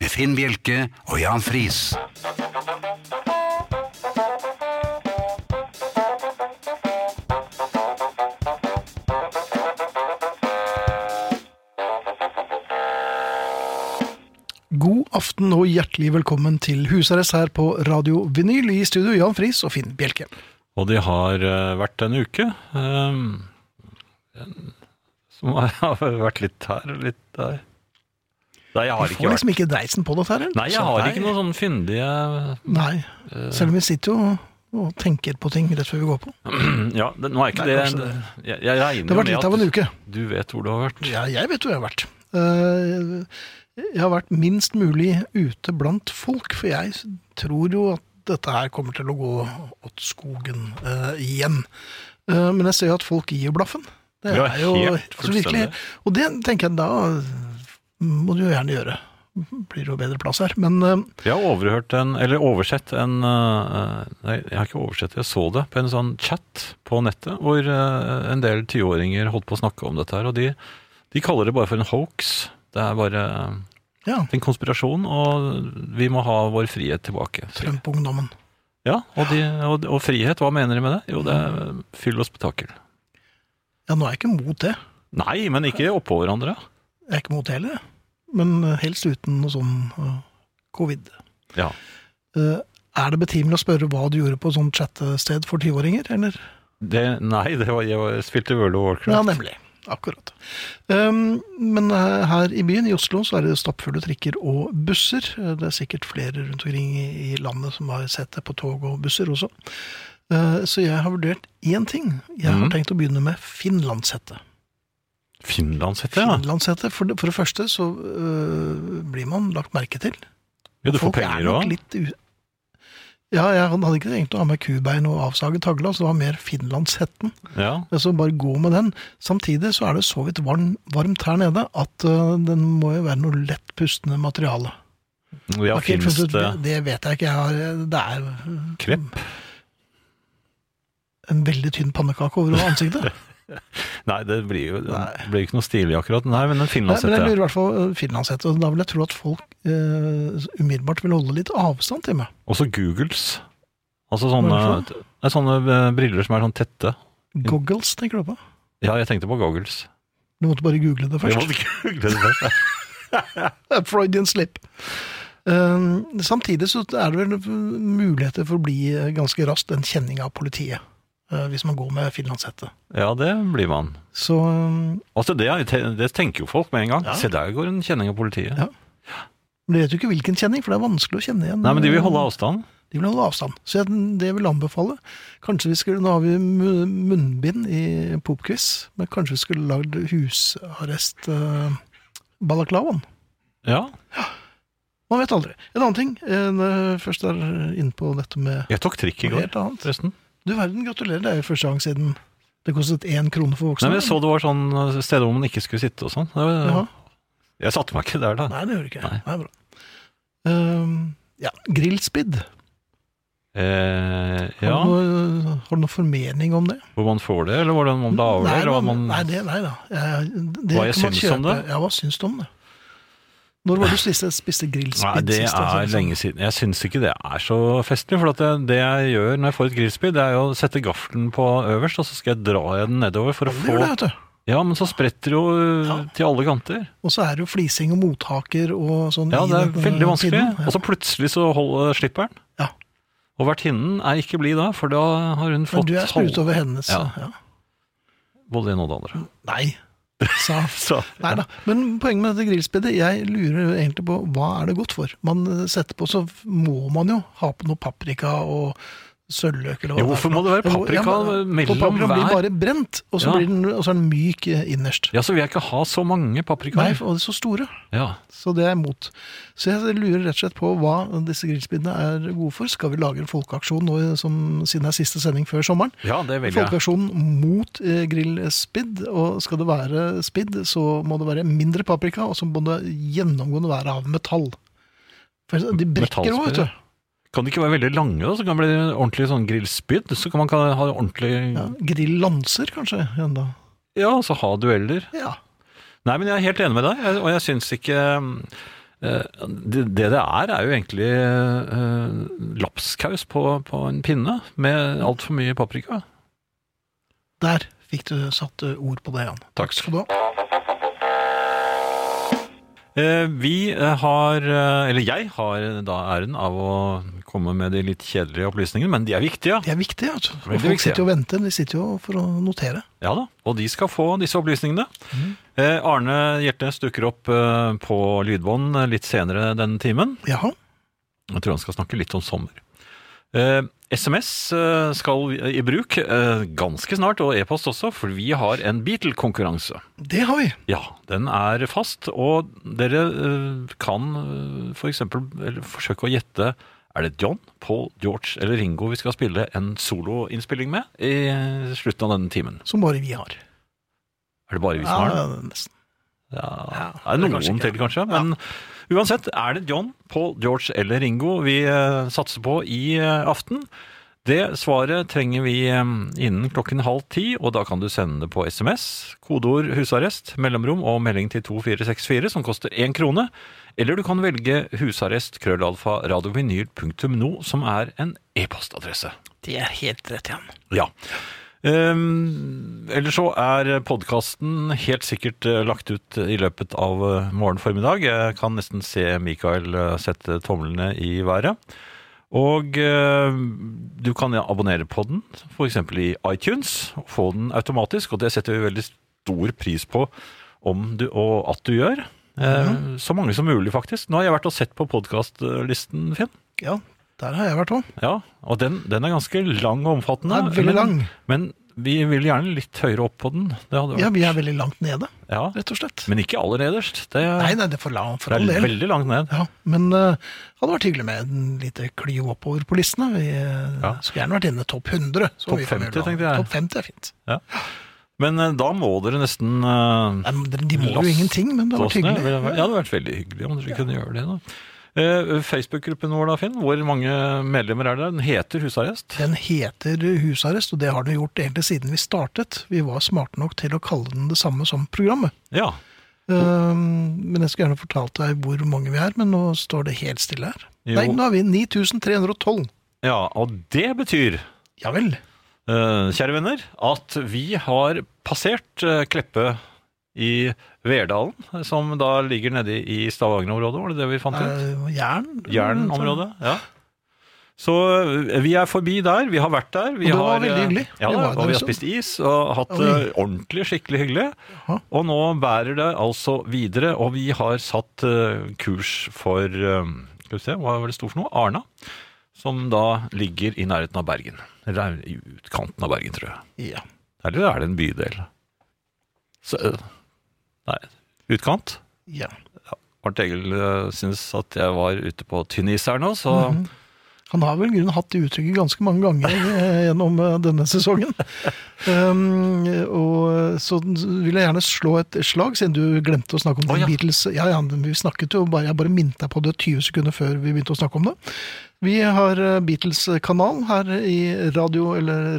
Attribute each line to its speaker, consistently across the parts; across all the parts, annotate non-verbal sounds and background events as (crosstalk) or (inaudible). Speaker 1: med Finn Bjelke og Jan Friis.
Speaker 2: God aften og hjertelig velkommen til Husarrest her på Radio Vinyl. I studio Jan Friis og Finn Bjelke.
Speaker 3: Og de har eh, vært en uke. ehm, en- som (laughs) har vært litt her og litt der. Nei, jeg har
Speaker 2: Vi
Speaker 3: ikke
Speaker 2: får
Speaker 3: vært
Speaker 2: liksom ikke dreisen på dette her. eller?
Speaker 3: Nei, jeg
Speaker 2: Så
Speaker 3: har ikke noe sånn fyndige (clears throat)
Speaker 2: Nei. Selv om vi sitter jo og tenker på ting rett før vi går på.
Speaker 3: Ja, det, nå er ikke
Speaker 2: Nei,
Speaker 3: det,
Speaker 2: kanskje
Speaker 3: Jeg, jeg regner
Speaker 2: Det har vært
Speaker 3: jo
Speaker 2: litt av en
Speaker 3: med
Speaker 2: uke.
Speaker 3: at du vet hvor du har vært.
Speaker 2: Ja, jeg vet hvor jeg har vært. Eh, Jeg har vært minst mulig ute blant folk, for jeg tror jo at dette her kommer til å gå åt skogen eh, igjen. Eh, Men jeg ser jo at folk gir blaffen. Det
Speaker 3: Ja,
Speaker 2: er jo
Speaker 3: helt
Speaker 2: altså, virkelig
Speaker 3: fullstendig.
Speaker 2: Og det tenker jeg da må du jo gjerne gjøre. Blir det jo bedre plass her. Men eh,
Speaker 3: Jeg har overhørt en, eller oversett en eh, Nei, jeg har ikke oversett, jeg så det på en sånn chat på nettet hvor eh, en del tiåringer holdt på å snakke om dette her, og de, de kaller det bare for en hoax. Det er bare
Speaker 2: ja,
Speaker 3: en konspirasjon, og vi må ha vår frihet tilbake.
Speaker 2: Trump-ungdommen.
Speaker 3: Ja, og, de, og, og frihet, hva mener de med det? Jo, det er fyll og spetakkel.
Speaker 2: Ja, nå er jeg ikke mot det.
Speaker 3: Nei, men ikke oppå hverandre.
Speaker 2: Jeg er ikke mot det heller. jeg. Men eh, helst uten noe sånn eh, covid.
Speaker 3: Ja.
Speaker 2: Eh, Er det betimelig å spørre hva du gjorde på et sånt chattested for 10-åringer, eller?
Speaker 3: Det, nei, det var, jeg var, spilte World of Warcraft.
Speaker 2: Ja, nemlig. Akkurat. Um, men eh, her i byen, i Oslo, så er det stappfulle trikker og busser. Eh, Det er sikkert flere rundt omkring i i landet som har sett det på tog og busser også. Eh, Så jeg har vurdert én ting. Jeg har
Speaker 3: Mhm.
Speaker 2: tenkt å begynne med finlandshette.
Speaker 3: Finlandshette, ja.
Speaker 2: Finlandshette, for det, for det første så øh, blir man lagt merke til.
Speaker 3: ja. Du får
Speaker 2: Folk er
Speaker 3: penger
Speaker 2: nok
Speaker 3: òg.
Speaker 2: litt u- Ja, jeg hadde ikke tenkt å ha med kubein og avsaget tagle, så det var mer finlandshetten.
Speaker 3: Ja.
Speaker 2: Så bare gå med den. Samtidig så er det så vidt varm, varmt her nede at øh, den må jo være noe lettpustende materiale.
Speaker 3: Ja,
Speaker 2: Jeg har ikke helt
Speaker 3: finnes
Speaker 2: funnet ut-
Speaker 3: det
Speaker 2: det vet jeg ikke. Jeg har, det er øh,
Speaker 3: krepp?
Speaker 2: en veldig tynn pannekake over
Speaker 3: (laughs)
Speaker 2: ansiktet.
Speaker 3: Nei, det blir jo det blir ikke noe stilig akkurat. Nei, men
Speaker 2: Nei, men
Speaker 3: en
Speaker 2: jeg
Speaker 3: finlandshette.
Speaker 2: lurer i hvert fall øh, finlandshette, og da vil jeg tro at folk øh, umiddelbart vil holde litt avstand til meg.
Speaker 3: Også Googles. Altså
Speaker 2: Hva
Speaker 3: sånne,
Speaker 2: er
Speaker 3: det er sånne eh, briller som er sånn tette.
Speaker 2: Goggles, tenker du på?
Speaker 3: Ja, jeg tenkte på goggles.
Speaker 2: Du måtte bare google det
Speaker 3: Jeg
Speaker 2: først.
Speaker 3: måtte google det først.
Speaker 2: Freudian slip. Ehm, samtidig så er det vel muligheter for å bli eh, ganske raskt en kjenning av politiet. eh, hvis man går med finlandshette.
Speaker 3: Ja, det blir man.
Speaker 2: Så ehm,
Speaker 3: Altså, det, er- det tenker jo folk med en gang.
Speaker 2: Ja.
Speaker 3: Se, der går en kjenning av politiet.
Speaker 2: Ja. Men de vet jo ikke hvilken kjenning, for det er vanskelig å kjenne igjen. eh,
Speaker 3: Nei, men de vil holde avstand.
Speaker 2: De vil holde avstand. Så jeg, det vil jeg anbefale. Kanskje vi skulle, Nå har vi mu- munnbind i popquiz, men kanskje vi skulle lagd eh, husarrest-balaklavaen.
Speaker 3: Ja.
Speaker 2: Man vet aldri. En annen ting, eh, når jeg først er inne på dette med
Speaker 3: Jeg tok trikk i
Speaker 2: noe
Speaker 3: går,
Speaker 2: helt annet.
Speaker 3: forresten.
Speaker 2: Du verden, gratulerer. Det er jo første gang siden det kostet én krone for voksne.
Speaker 3: Nei, men jeg så det var sånn eh, steder hvor man ikke skulle sitte og sånn. Det var-
Speaker 2: Jaha.
Speaker 3: Jeg satte meg ikke der, da.
Speaker 2: Nei, det gjør det ikke.
Speaker 3: Nei.
Speaker 2: Nei, bra. Ehm, ja, grillspidd.
Speaker 3: Eh,
Speaker 2: Har,
Speaker 3: ja,
Speaker 2: du noe, har du noe formening om det?
Speaker 3: Hvor man får det, eller hvordan man lager det?
Speaker 2: nei,
Speaker 3: Eller hva
Speaker 2: man-
Speaker 3: man...
Speaker 2: nei, det, nei da. Jeg, det
Speaker 3: Hva jeg
Speaker 2: kan man
Speaker 3: syns om
Speaker 2: kjøpe.
Speaker 3: det?
Speaker 2: Ja, hva syns du om det? Når var det du spiste, spiste grillspidd
Speaker 3: Nei, det
Speaker 2: sist? altså,
Speaker 3: er
Speaker 2: liksom?
Speaker 3: lenge siden. Jeg syns ikke det er så festlig. For at det, det jeg gjør når jeg får et grillspyd, det er jo å sette gaffelen på øverst, og så skal jeg dra jeg den nedover for å
Speaker 2: Det
Speaker 3: få
Speaker 2: gjør det, vet du.
Speaker 3: Ja, men så spretter det jo øh,
Speaker 2: Ja.
Speaker 3: til alle kanter.
Speaker 2: Og så er det jo flising og mottaker og sånn.
Speaker 3: Ja,
Speaker 2: i
Speaker 3: det er
Speaker 2: den, eh,
Speaker 3: veldig vanskelig.
Speaker 2: pinnen. Ja.
Speaker 3: Og så plutselig så holder, slipper den.
Speaker 2: Ja.
Speaker 3: Og vertinnen er ikke blid da, for da har hun
Speaker 2: Men
Speaker 3: fått
Speaker 2: du er sprut
Speaker 3: halv-
Speaker 2: over hennes.
Speaker 3: Ja.
Speaker 2: Ja.
Speaker 3: både det ene og det
Speaker 2: (laughs)
Speaker 3: andre.
Speaker 2: Nei, sa
Speaker 3: Så,
Speaker 2: Nei da. Men poenget med dette grillspiddet, jeg lurer egentlig på hva er det godt for? Man eh, setter på, så må man jo ha på noe paprika og sølvløk eller
Speaker 3: Jo,
Speaker 2: hva
Speaker 3: hvorfor må det være paprika mellom
Speaker 2: hver? Paprikaen eh, blir
Speaker 3: hver?
Speaker 2: bare brent, og så,
Speaker 3: Ja.
Speaker 2: blir den, og så er den myk eh, innerst.
Speaker 3: Ja, så vil jeg ikke ha så mange
Speaker 2: Nei,
Speaker 3: paprikaer.
Speaker 2: og de er så store,
Speaker 3: Ja.
Speaker 2: så det er jeg imot. Så jeg lurer rett og slett på hva disse grillspinnene er gode for. Skal vi lage en folkeaksjon nå som, siden det er siste sending før sommeren?
Speaker 3: ja, det vil jeg.
Speaker 2: Folkeaksjon mot eh, grillspidd, og skal det være spidd, så må det være mindre paprika, og så må det gjennomgående være av metall. For de brekker òg, vet
Speaker 3: Metallspidd,
Speaker 2: du.
Speaker 3: Kan de ikke være veldig lange, da? Så kan det bli ordentlig sånn grillspyd. Så kan man kan ha ordentlig
Speaker 2: Ja, Grillanser, kanskje, enda.
Speaker 3: Ja, så ha dueller.
Speaker 2: Ja.
Speaker 3: Nei, men jeg er helt enig med deg, jeg- og jeg syns ikke eh, det det det er, er jo egentlig eh, lapskaus på, på en pinne med altfor mye paprika.
Speaker 2: Der fikk du satt eh, ord på det, Jan.
Speaker 3: Takk.
Speaker 2: skal du ha.
Speaker 3: Eh, Vi eh, har, eh, eller jeg har da æren av å komme med de litt kjedelige opplysningene, men de er viktige.
Speaker 2: De er viktige, vet du.
Speaker 3: Veldig
Speaker 2: Og folk
Speaker 3: viktige.
Speaker 2: sitter jo og venter, de sitter jo for å notere.
Speaker 3: Ja da, og de skal få disse opplysningene. Eh, Arne Hjertnes dukker opp eh, på lydbånd eh, litt senere denne timen.
Speaker 2: Jaha.
Speaker 3: Jeg tror han skal snakke litt om sommer. Eh, SMS eh, skal i bruk eh, ganske snart, og e-post også, for vi har en Beatle-konkurranse.
Speaker 2: Det har vi.
Speaker 3: Ja, den er fast, og dere eh, kan eh, for eksempel eller forsøke å gjette er det John, Paul, George eller Ringo vi skal spille en soloinnspilling med i eh, slutten av denne timen?
Speaker 2: Som bare vi har.
Speaker 3: Er det bare vi som har den?
Speaker 2: nesten.
Speaker 3: Ja,
Speaker 2: Ja,
Speaker 3: det er
Speaker 2: det er
Speaker 3: noen
Speaker 2: kanskje ikke
Speaker 3: til, kanskje. Men uansett, er det John, Paul, George eller Ringo vi eh, satser på i eh, aften? Det svaret trenger vi eh, innen klokken halv ti, og da kan du sende det på SMS, kodeord 'husarrest', mellomrom og melding til 2464, som koster én krone. Eller du kan velge husarrest krøllalfa radiovinyl.no, som er en e-postadresse.
Speaker 2: Det er helt rett, Jan.
Speaker 3: Ja. Um, Eller så er podkasten helt sikkert eh, lagt ut i løpet av eh, morgen formiddag. Jeg kan nesten se Mikael eh, sette tomlene i været. Og eh, du kan abonnere på den, f.eks. i iTunes. og Få den automatisk, og det setter vi veldig stor pris på om du, og at du gjør. Eh, Så mange som mulig, faktisk. Nå har jeg vært og sett på podkastlisten, Finn.
Speaker 2: Ja, der har jeg vært òg.
Speaker 3: Ja, og den, den er ganske lang og omfattende.
Speaker 2: Den er veldig
Speaker 3: men,
Speaker 2: lang.
Speaker 3: Men vi vil gjerne litt høyere opp på den. Det hadde vært.
Speaker 2: Ja, vi er veldig langt nede,
Speaker 3: Ja,
Speaker 2: rett og slett.
Speaker 3: Men ikke aller nederst. Det,
Speaker 2: Nei, nei, det er for lang for
Speaker 3: det
Speaker 2: all
Speaker 3: er
Speaker 2: del.
Speaker 3: veldig langt ned.
Speaker 2: Ja, men det hadde vært hyggelig med en lite klio oppover på listene. Vi eh,
Speaker 3: Ja.
Speaker 2: skulle gjerne vært inne i topp 100. så
Speaker 3: Topp
Speaker 2: vi får vel
Speaker 3: 50,
Speaker 2: ha-
Speaker 3: tenkte jeg.
Speaker 2: Topp 50 er fint.
Speaker 3: Men eh, da må dere nesten eh,
Speaker 2: Nei, men de- de må
Speaker 3: Last
Speaker 2: jo ingenting, men det hadde
Speaker 3: oss
Speaker 2: vært
Speaker 3: ned.
Speaker 2: hyggelig.
Speaker 3: Det hadde vært- Ja, det hadde vært veldig hyggelig om dere kunne gjøre det. da. Eh, Facebook-gruppen vår, da, Finn. Hvor mange medlemmer er det? Den heter Husarrest.
Speaker 2: Den heter husarrest, og det har den gjort egentlig siden vi startet. Vi var smarte nok til å kalle den det samme som programmet.
Speaker 3: Ja.
Speaker 2: Ehm, men jeg skulle gjerne fortalt deg hvor mange vi er, men nå står det helt stille her.
Speaker 3: Jo.
Speaker 2: Nei, nå er vi 9312.
Speaker 3: ja. Og det betyr,
Speaker 2: Ja vel.
Speaker 3: eh, kjære venner, at vi har passert eh, Kleppe i Verdalen, som da ligger nede i Stavanger-området, var det det vi fant ut?
Speaker 2: Eh, Jern?
Speaker 3: Jernområdet,
Speaker 2: Mm, sånn.
Speaker 3: ja. Så ø, vi er forbi der, vi har vært der. Vi
Speaker 2: Og det var
Speaker 3: har,
Speaker 2: veldig
Speaker 3: ø,
Speaker 2: hyggelig.
Speaker 3: Ja,
Speaker 2: Vi
Speaker 3: da,
Speaker 2: var der
Speaker 3: og vi har
Speaker 2: også.
Speaker 3: spist is og hatt det
Speaker 2: Oi.
Speaker 3: ordentlig skikkelig hyggelig.
Speaker 2: Jaha.
Speaker 3: Og nå bærer det altså videre, og vi har satt ø, kurs for ø, Skal vi se, hva var det stort for noe? Arna. Som da ligger i nærheten av Bergen. Eller er i utkanten av Bergen, tror jeg.
Speaker 2: Ja.
Speaker 3: Eller er det en bydel? Så, ø, nei, utkant?
Speaker 2: ja.
Speaker 3: Arnt Egil ø, synes at jeg var ute på tynn is her nå, så
Speaker 2: Mhm. Han har vel i grunnen hatt det uttrykket ganske mange ganger eh, gjennom eh, denne sesongen. Um, og så vil jeg gjerne slå et slag, siden du glemte å snakke om
Speaker 3: Å, ja.
Speaker 2: The Beatles. Ja, ja, vi snakket jo bare, Jeg bare minnet deg på det 20 sekunder før vi begynte å snakke om det. Vi har eh, Beatles-kanal her i radio, eller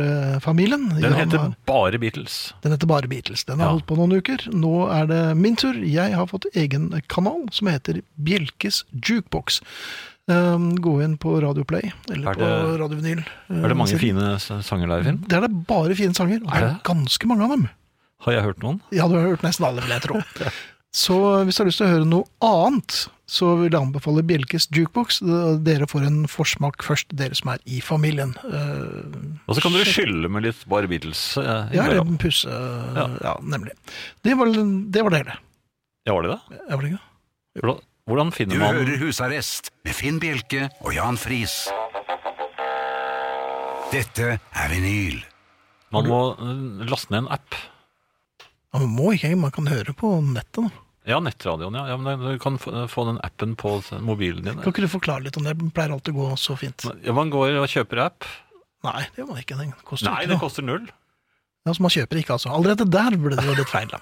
Speaker 2: Radiovinyl-familien.
Speaker 3: Den
Speaker 2: Jan
Speaker 3: heter
Speaker 2: har-
Speaker 3: bare Beatles.
Speaker 2: Den heter bare Beatles. Den har
Speaker 3: Ja.
Speaker 2: holdt på noen uker. Nå er det min tur. Jeg har fått egen kanal som heter Bjelkes jukebox. Um, gå inn på Radio Play eller
Speaker 3: Er
Speaker 2: på
Speaker 3: det-
Speaker 2: Radio Vinyl.
Speaker 3: Er det mange fine s- sanger der, Finn?
Speaker 2: Det er det bare fine sanger. Og det
Speaker 3: Er
Speaker 2: er
Speaker 3: det?
Speaker 2: ganske mange av dem.
Speaker 3: Har jeg hørt noen?
Speaker 2: Ja, du har hørt nesten alle, vil
Speaker 3: (laughs)
Speaker 2: jeg tro. Så hvis du har lyst til å høre noe annet, så vil jeg anbefale Bjelkes jukebox. Dere får en forsmak først, dere som er i familien. Uh,
Speaker 3: Og så kan dere skylle med litt bare Beatles. Eh,
Speaker 2: ja, eller
Speaker 3: innimellom.
Speaker 2: pusse ja.
Speaker 3: Ja.
Speaker 2: nemlig. Det var det, var det hele.
Speaker 3: ja, var det det?
Speaker 2: Jeg var det ikke? det?
Speaker 3: Hvordan- Hvordan finner
Speaker 1: Du
Speaker 3: man
Speaker 1: hører Husarrest med Finn Bjelke og Jan Friis. Dette er vinyl.
Speaker 3: Man må eh, laste ned en app.
Speaker 2: Man må ikke, man kan høre på nettet. Da.
Speaker 3: Ja, nettradioen, ja. ja men du kan få eh, få den appen på mobilen din.
Speaker 2: Kan ikke du forklare litt om det? Det pleier alltid å gå så fint.
Speaker 3: Ja, man går og kjøper app.
Speaker 2: Nei, det må man ikke. Den koster
Speaker 3: Nei,
Speaker 2: ikke
Speaker 3: det
Speaker 2: noe.
Speaker 3: koster null.
Speaker 2: Ja, så man kjøper ikke, altså. Allerede der ble det jo litt feil. da.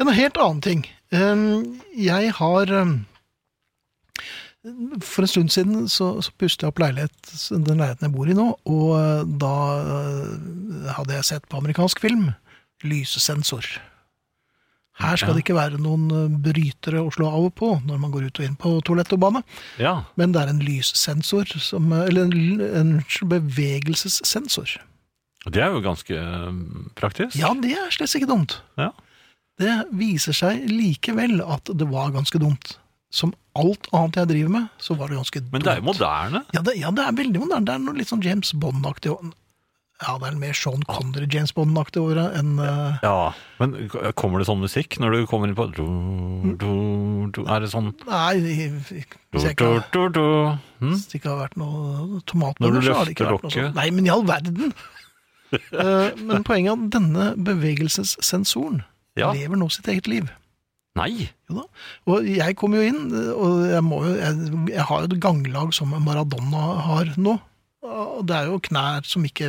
Speaker 2: En helt annen ting. Um, Jeg har um, For en stund siden så, så pustet jeg opp leilighet, den leiligheten jeg bor i nå, og uh, da uh, hadde jeg sett på amerikansk film lysesensor. Her skal
Speaker 3: Ja.
Speaker 2: det ikke være noen uh, brytere å slå av og på når man går ut og inn på toalett og bane.
Speaker 3: Ja,
Speaker 2: Men det er en lyssensor, som, eller en, en bevegelsessensor.
Speaker 3: Det er jo ganske eh, praktisk.
Speaker 2: Ja, det er slett ikke dumt.
Speaker 3: Ja.
Speaker 2: Det viser seg likevel at det var ganske dumt. Som alt annet jeg driver med, så var det ganske dumt.
Speaker 3: Men det er jo moderne.
Speaker 2: Ja, det, ja, det er veldig moderne. Det er noe litt sånn James Bond-aktig. og- Ja, det er mer Sean Connery-James Bond-aktig over det enn eh,
Speaker 3: Ja, Men k- kommer det sånn musikk når du kommer inn på du, du, du, Er det sånn
Speaker 2: Nei, i- i- Mm.
Speaker 3: du,
Speaker 2: hvis jeg
Speaker 3: du,
Speaker 2: ikke, har-
Speaker 3: du, du. Hm?
Speaker 2: hvis det ikke har vært noe
Speaker 3: Når du
Speaker 2: tomatbønner, så har det ikke vært
Speaker 3: løfter
Speaker 2: noe
Speaker 3: lokket.
Speaker 2: sånt. Nei, men i all
Speaker 3: (laughs)
Speaker 2: verden! Eh, men poenget er at denne bevegelsessensoren
Speaker 3: Ja.
Speaker 2: lever nå sitt eget liv.
Speaker 3: Nei!
Speaker 2: Jo da. Og jeg kom jo inn, og jeg, må jo, jeg, jeg har jo et ganglag som Maradona har nå. Og det er jo knær som ikke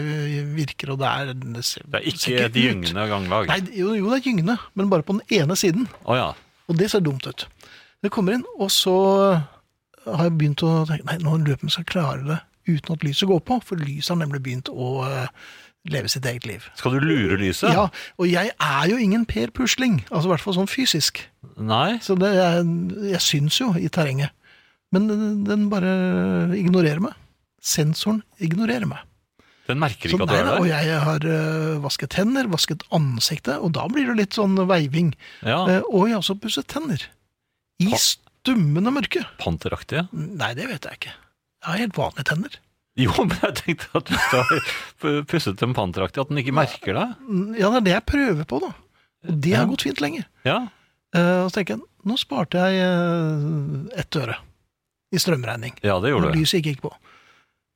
Speaker 2: virker, og det er Det, ser,
Speaker 3: Det er
Speaker 2: ser
Speaker 3: ikke de
Speaker 2: ut.
Speaker 3: gyngende ganglag.
Speaker 2: Nei, jo, jo, det er gyngende, men bare på den ene siden.
Speaker 3: Å ja.
Speaker 2: Og det ser dumt ut. Jeg kommer inn, og så har jeg begynt å tenke Nei, nå løper vi skal klare det uten at lyset går på, for lyset har nemlig begynt å eh, leve sitt eget liv.
Speaker 3: Skal du lure lyset?
Speaker 2: Ja, og jeg er jo ingen Per Pusling, altså i hvert fall sånn fysisk.
Speaker 3: Nei?
Speaker 2: Så det er, jeg syns jo i terrenget. Men den, den bare ignorerer meg. Sensoren ignorerer meg.
Speaker 3: Den merker
Speaker 2: Så
Speaker 3: ikke at du
Speaker 2: nei
Speaker 3: er
Speaker 2: da, og
Speaker 3: der?
Speaker 2: jeg har øh, vasket hender, vasket ansiktet, og da blir det litt sånn veiving.
Speaker 3: Ja,
Speaker 2: Eh, og jeg har også pusset tenner. I
Speaker 3: Ha.
Speaker 2: stummende mørke.
Speaker 3: Panteraktige?
Speaker 2: Nei, det vet jeg ikke. Jeg har helt vanlige tenner.
Speaker 3: Jo, (laughs) men jeg tenkte at hvis du har pusset dem panteraktig, at den ikke merker deg.
Speaker 2: Mm, Ja, det er det jeg prøver på, da. Og det
Speaker 3: Ja.
Speaker 2: har gått fint lenge.
Speaker 3: Ja,
Speaker 2: Eh, og så tenker jeg, nå sparte jeg eh, ett øre i strømregning.
Speaker 3: ja det gjorde
Speaker 2: når
Speaker 3: du.
Speaker 2: lyset ikke gikk på.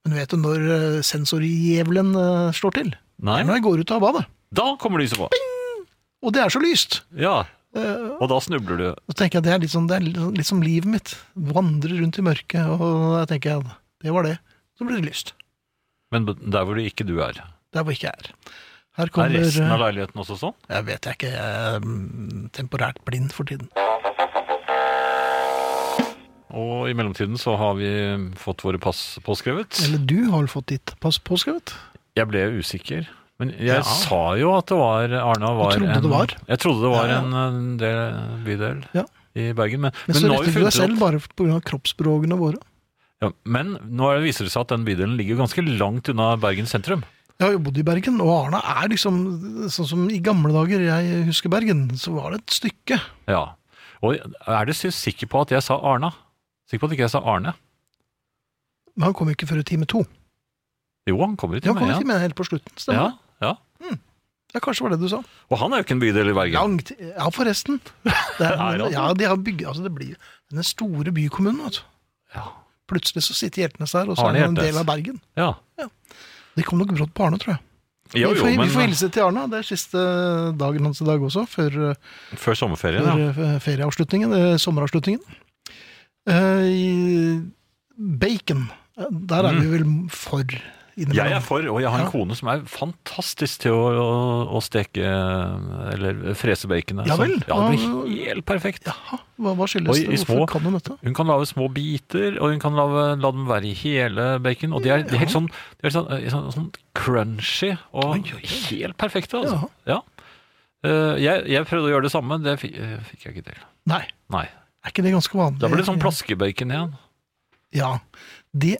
Speaker 2: Men vet du når eh, sensorjævelen eh, slår til? Det
Speaker 3: Nei,
Speaker 2: er når jeg går ut av badet.
Speaker 3: da kommer lyset på.
Speaker 2: Og det er så lyst!
Speaker 3: Ja,
Speaker 2: Eh,
Speaker 3: og da snubler du.
Speaker 2: Og så tenker jeg det er litt sånn, det er litt litt som livet mitt. Vandrer rundt i mørket, og jeg tenker jeg, det var det. Så blir det lyst.
Speaker 3: Men der hvor du ikke du er.
Speaker 2: Der hvor ikke jeg er. Her
Speaker 3: Er
Speaker 2: kommer
Speaker 3: resten av
Speaker 2: eh,
Speaker 3: leiligheten også sånn?
Speaker 2: Jeg vet jeg ikke, jeg er mm, temporært blind for tiden.
Speaker 3: Og i mellomtiden så har vi fått våre pass påskrevet.
Speaker 2: Eller du har vel fått ditt pass påskrevet?
Speaker 3: Jeg ble usikker. Men jeg
Speaker 2: Ja.
Speaker 3: sa jo at det var Arna var
Speaker 2: trodde
Speaker 3: en,
Speaker 2: det var?
Speaker 3: Jeg trodde det var
Speaker 2: Ja, ja.
Speaker 3: en, en eh, del bydel
Speaker 2: Ja.
Speaker 3: i Bergen. Men,
Speaker 2: Men, så
Speaker 3: nå har vi
Speaker 2: retter du deg
Speaker 3: funnet
Speaker 2: selv
Speaker 3: ut-
Speaker 2: bare pga. kroppsspråkene våre.
Speaker 3: ja, men nå er det- viser det seg at den bydelen ligger ganske langt unna Bergen sentrum.
Speaker 2: Jeg har jo bodd i Bergen, og Arna er liksom sånn som i gamle dager jeg husker Bergen, så var det et stykke.
Speaker 3: Ja. Og er du så sikker på at jeg sa Arna? Sikker på at ikke jeg sa Arne?
Speaker 2: Men han kom jo ikke før i time to.
Speaker 3: Jo, han kommer jo
Speaker 2: Ja,
Speaker 3: til
Speaker 2: han kom i
Speaker 3: meg.
Speaker 2: time helt på slutten,
Speaker 3: Ja. Ja,
Speaker 2: stemmer det?
Speaker 3: ja.
Speaker 2: Ja, kanskje var det du sa.
Speaker 3: Og han er jo ikke en bydel i Bergen.
Speaker 2: Langt Ja, forresten. (laughs) Det er,
Speaker 3: Er det
Speaker 2: ja, de har bygget Altså, det blir jo denne store bykommunen, vet du.
Speaker 3: Ja.
Speaker 2: Plutselig så sitter Hjeltnes der, og så
Speaker 3: Arne
Speaker 2: er han en
Speaker 3: Hjeltnes.
Speaker 2: del av Bergen.
Speaker 3: ja.
Speaker 2: De kom nok brått på Arne, tror jeg.
Speaker 3: Jo,
Speaker 2: vi,
Speaker 3: jo,
Speaker 2: får, vi får
Speaker 3: men
Speaker 2: hilse til Arne. Det er siste dagen hans i dag også, før,
Speaker 3: før sommerferien,
Speaker 2: før
Speaker 3: ja.
Speaker 2: eh, ferieavslutningen, eh, sommeravslutningen. Eh, i bacon. Eh, Der er
Speaker 3: Mm.
Speaker 2: vi vel for innimellom.
Speaker 3: Jeg er for, og jeg har en
Speaker 2: Ja.
Speaker 3: kone som er fantastisk til å, å, å steke eller frese baconet.
Speaker 2: Ja
Speaker 3: Så-
Speaker 2: vel.
Speaker 3: Ja,
Speaker 2: Ja.
Speaker 3: det blir helt perfekt.
Speaker 2: Jaha, hva, hva skyldes
Speaker 3: Og i-
Speaker 2: det?
Speaker 3: i små-
Speaker 2: Hvorfor kan hun dette?
Speaker 3: Hun kan lage små biter, og hun kan lage, la dem være i hele bacon. Og de er, de er helt sånn, de er sånn, eh, sånn, sånn crunchy og
Speaker 2: Oi, oi, oi.
Speaker 3: helt perfekte, altså. Ja. Eh, jeg, jeg prøvde å gjøre det samme, det fikk, eh, fikk jeg ikke til.
Speaker 2: Nei,
Speaker 3: Nei.
Speaker 2: er ikke det ganske vanlig?
Speaker 3: Da ble det sånn plaskebacon igjen.
Speaker 2: Ja. Det,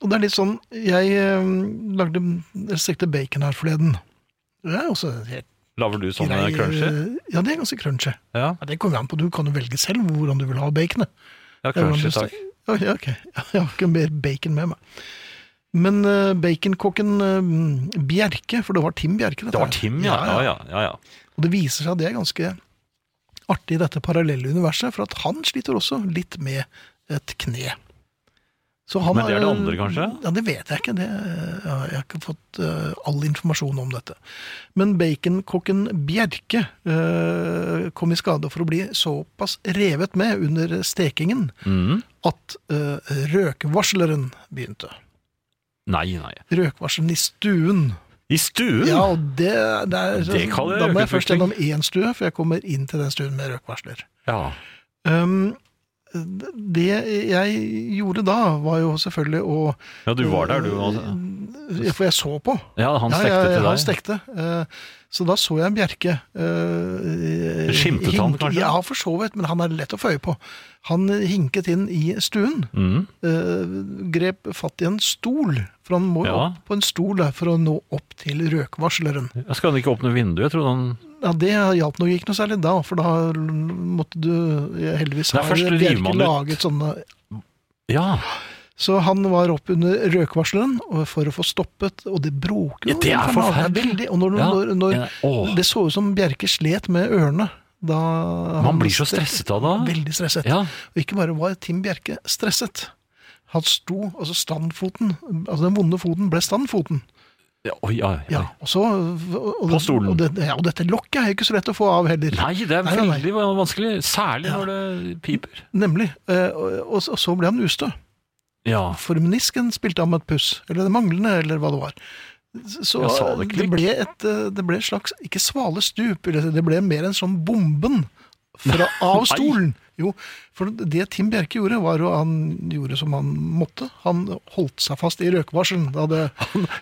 Speaker 2: og det er litt sånn Jeg eh, lagde jeg stekte bacon her forleden. Det er også helt
Speaker 3: Lager du sånne
Speaker 2: grei, eh,
Speaker 3: Sånn, crunchy?
Speaker 2: Ja, det er ganske crunchy.
Speaker 3: Ja,
Speaker 2: Ja, det kommer an på. Du kan jo velge selv hvordan du vil ha baconet. Ja,
Speaker 3: ja
Speaker 2: hvordan
Speaker 3: crunchy,
Speaker 2: du
Speaker 3: takk.
Speaker 2: Ja, ja, ok. (laughs) Jeg har ikke mer bacon med meg. Men eh, baconkokken eh, Bjerke, for det var Tim Bjerke dette
Speaker 3: Det var
Speaker 2: her.
Speaker 3: Tim, ja. Ja, ja, ja, ja.
Speaker 2: Og det viser seg at det er ganske artig i dette parallelle universet, for at han sliter også litt med et kne. Så han
Speaker 3: Men det er det
Speaker 2: har-
Speaker 3: andre, kanskje?
Speaker 2: Ja, Det vet jeg ikke. Det, eh, jeg har ikke fått eh, all informasjon om dette. Men baconkokken Bjerke eh, kom i skade for å bli såpass revet med under stekingen
Speaker 3: Mm.
Speaker 2: at eh, røkvarsleren begynte.
Speaker 3: Nei, nei.
Speaker 2: Røkvarselen i stuen.
Speaker 3: I stuen?
Speaker 2: Ja, og det, det er,
Speaker 3: Det kaller jeg
Speaker 2: Da må jeg først
Speaker 3: røkutvikling.
Speaker 2: gjennom én stue, for jeg kommer inn til den stuen med røkvarsler.
Speaker 3: Ja.
Speaker 2: Um, det jeg gjorde da, var jo selvfølgelig å
Speaker 3: Ja, du var der, du. altså.
Speaker 2: For jeg så på.
Speaker 3: Ja, han
Speaker 2: ja,
Speaker 3: stekte
Speaker 2: jeg,
Speaker 3: til
Speaker 2: Han
Speaker 3: deg.
Speaker 2: stekte. Eh, Så da så jeg en Bjerke. eh,
Speaker 3: Skimtet han,
Speaker 2: hinke-
Speaker 3: kanskje?
Speaker 2: Ja, for så vidt, men han er lett å få øye på. Han hinket inn i stuen,
Speaker 3: Mm.
Speaker 2: eh, grep fatt i en stol, for han må jo
Speaker 3: Ja.
Speaker 2: opp på en stol der for å nå opp til røkvarsleren.
Speaker 3: Jeg skal han ikke åpne vinduet? Jeg trodde han
Speaker 2: Ja, Det hjalp nok ikke noe særlig da, for da måtte du jeg heldigvis
Speaker 3: Nei,
Speaker 2: har
Speaker 3: først river
Speaker 2: Bjerke
Speaker 3: man ut.
Speaker 2: laget sånne
Speaker 3: Ja!
Speaker 2: Så han var opp under røkvarsleren og- for å få stoppet, og det bråker jo.
Speaker 3: Ja, det er
Speaker 2: infernalt.
Speaker 3: forferdelig.
Speaker 2: veldig. Og når,
Speaker 3: ja.
Speaker 2: når, når,
Speaker 3: Ja, åh,
Speaker 2: Det så ut som Bjerke slet med ørene. Da
Speaker 3: man blir så stresset av det.
Speaker 2: Veldig stresset.
Speaker 3: Ja.
Speaker 2: Og ikke bare var Tim Bjerke stresset. Han sto, altså standfoten, altså den vonde foten ble standfoten.
Speaker 3: Ja, oi, ja, ja.
Speaker 2: Ja, og så, og, og,
Speaker 3: På stolen.
Speaker 2: Og, det, ja, og dette lokket er jo ikke så lett å få av heller.
Speaker 3: Nei, det er
Speaker 2: Nei, nei, nei.
Speaker 3: veldig vanskelig. Særlig når det piper.
Speaker 2: Nemlig. Eh, og- Og, så- og så ble han ustø.
Speaker 3: Ja.
Speaker 2: For menisken spilte ham et puss. Eller det manglende, eller hva det var. Så
Speaker 3: Ja,
Speaker 2: eh,
Speaker 3: saleklikk.
Speaker 2: det ble, et, eh, det ble et slags, ikke svalestup, vil jeg si, det ble mer en sånn bomben fra, av stolen. Jo, for det Tim Bjerke gjorde, var jo han gjorde som han måtte. Han holdt seg fast i røkvarselen. Da det,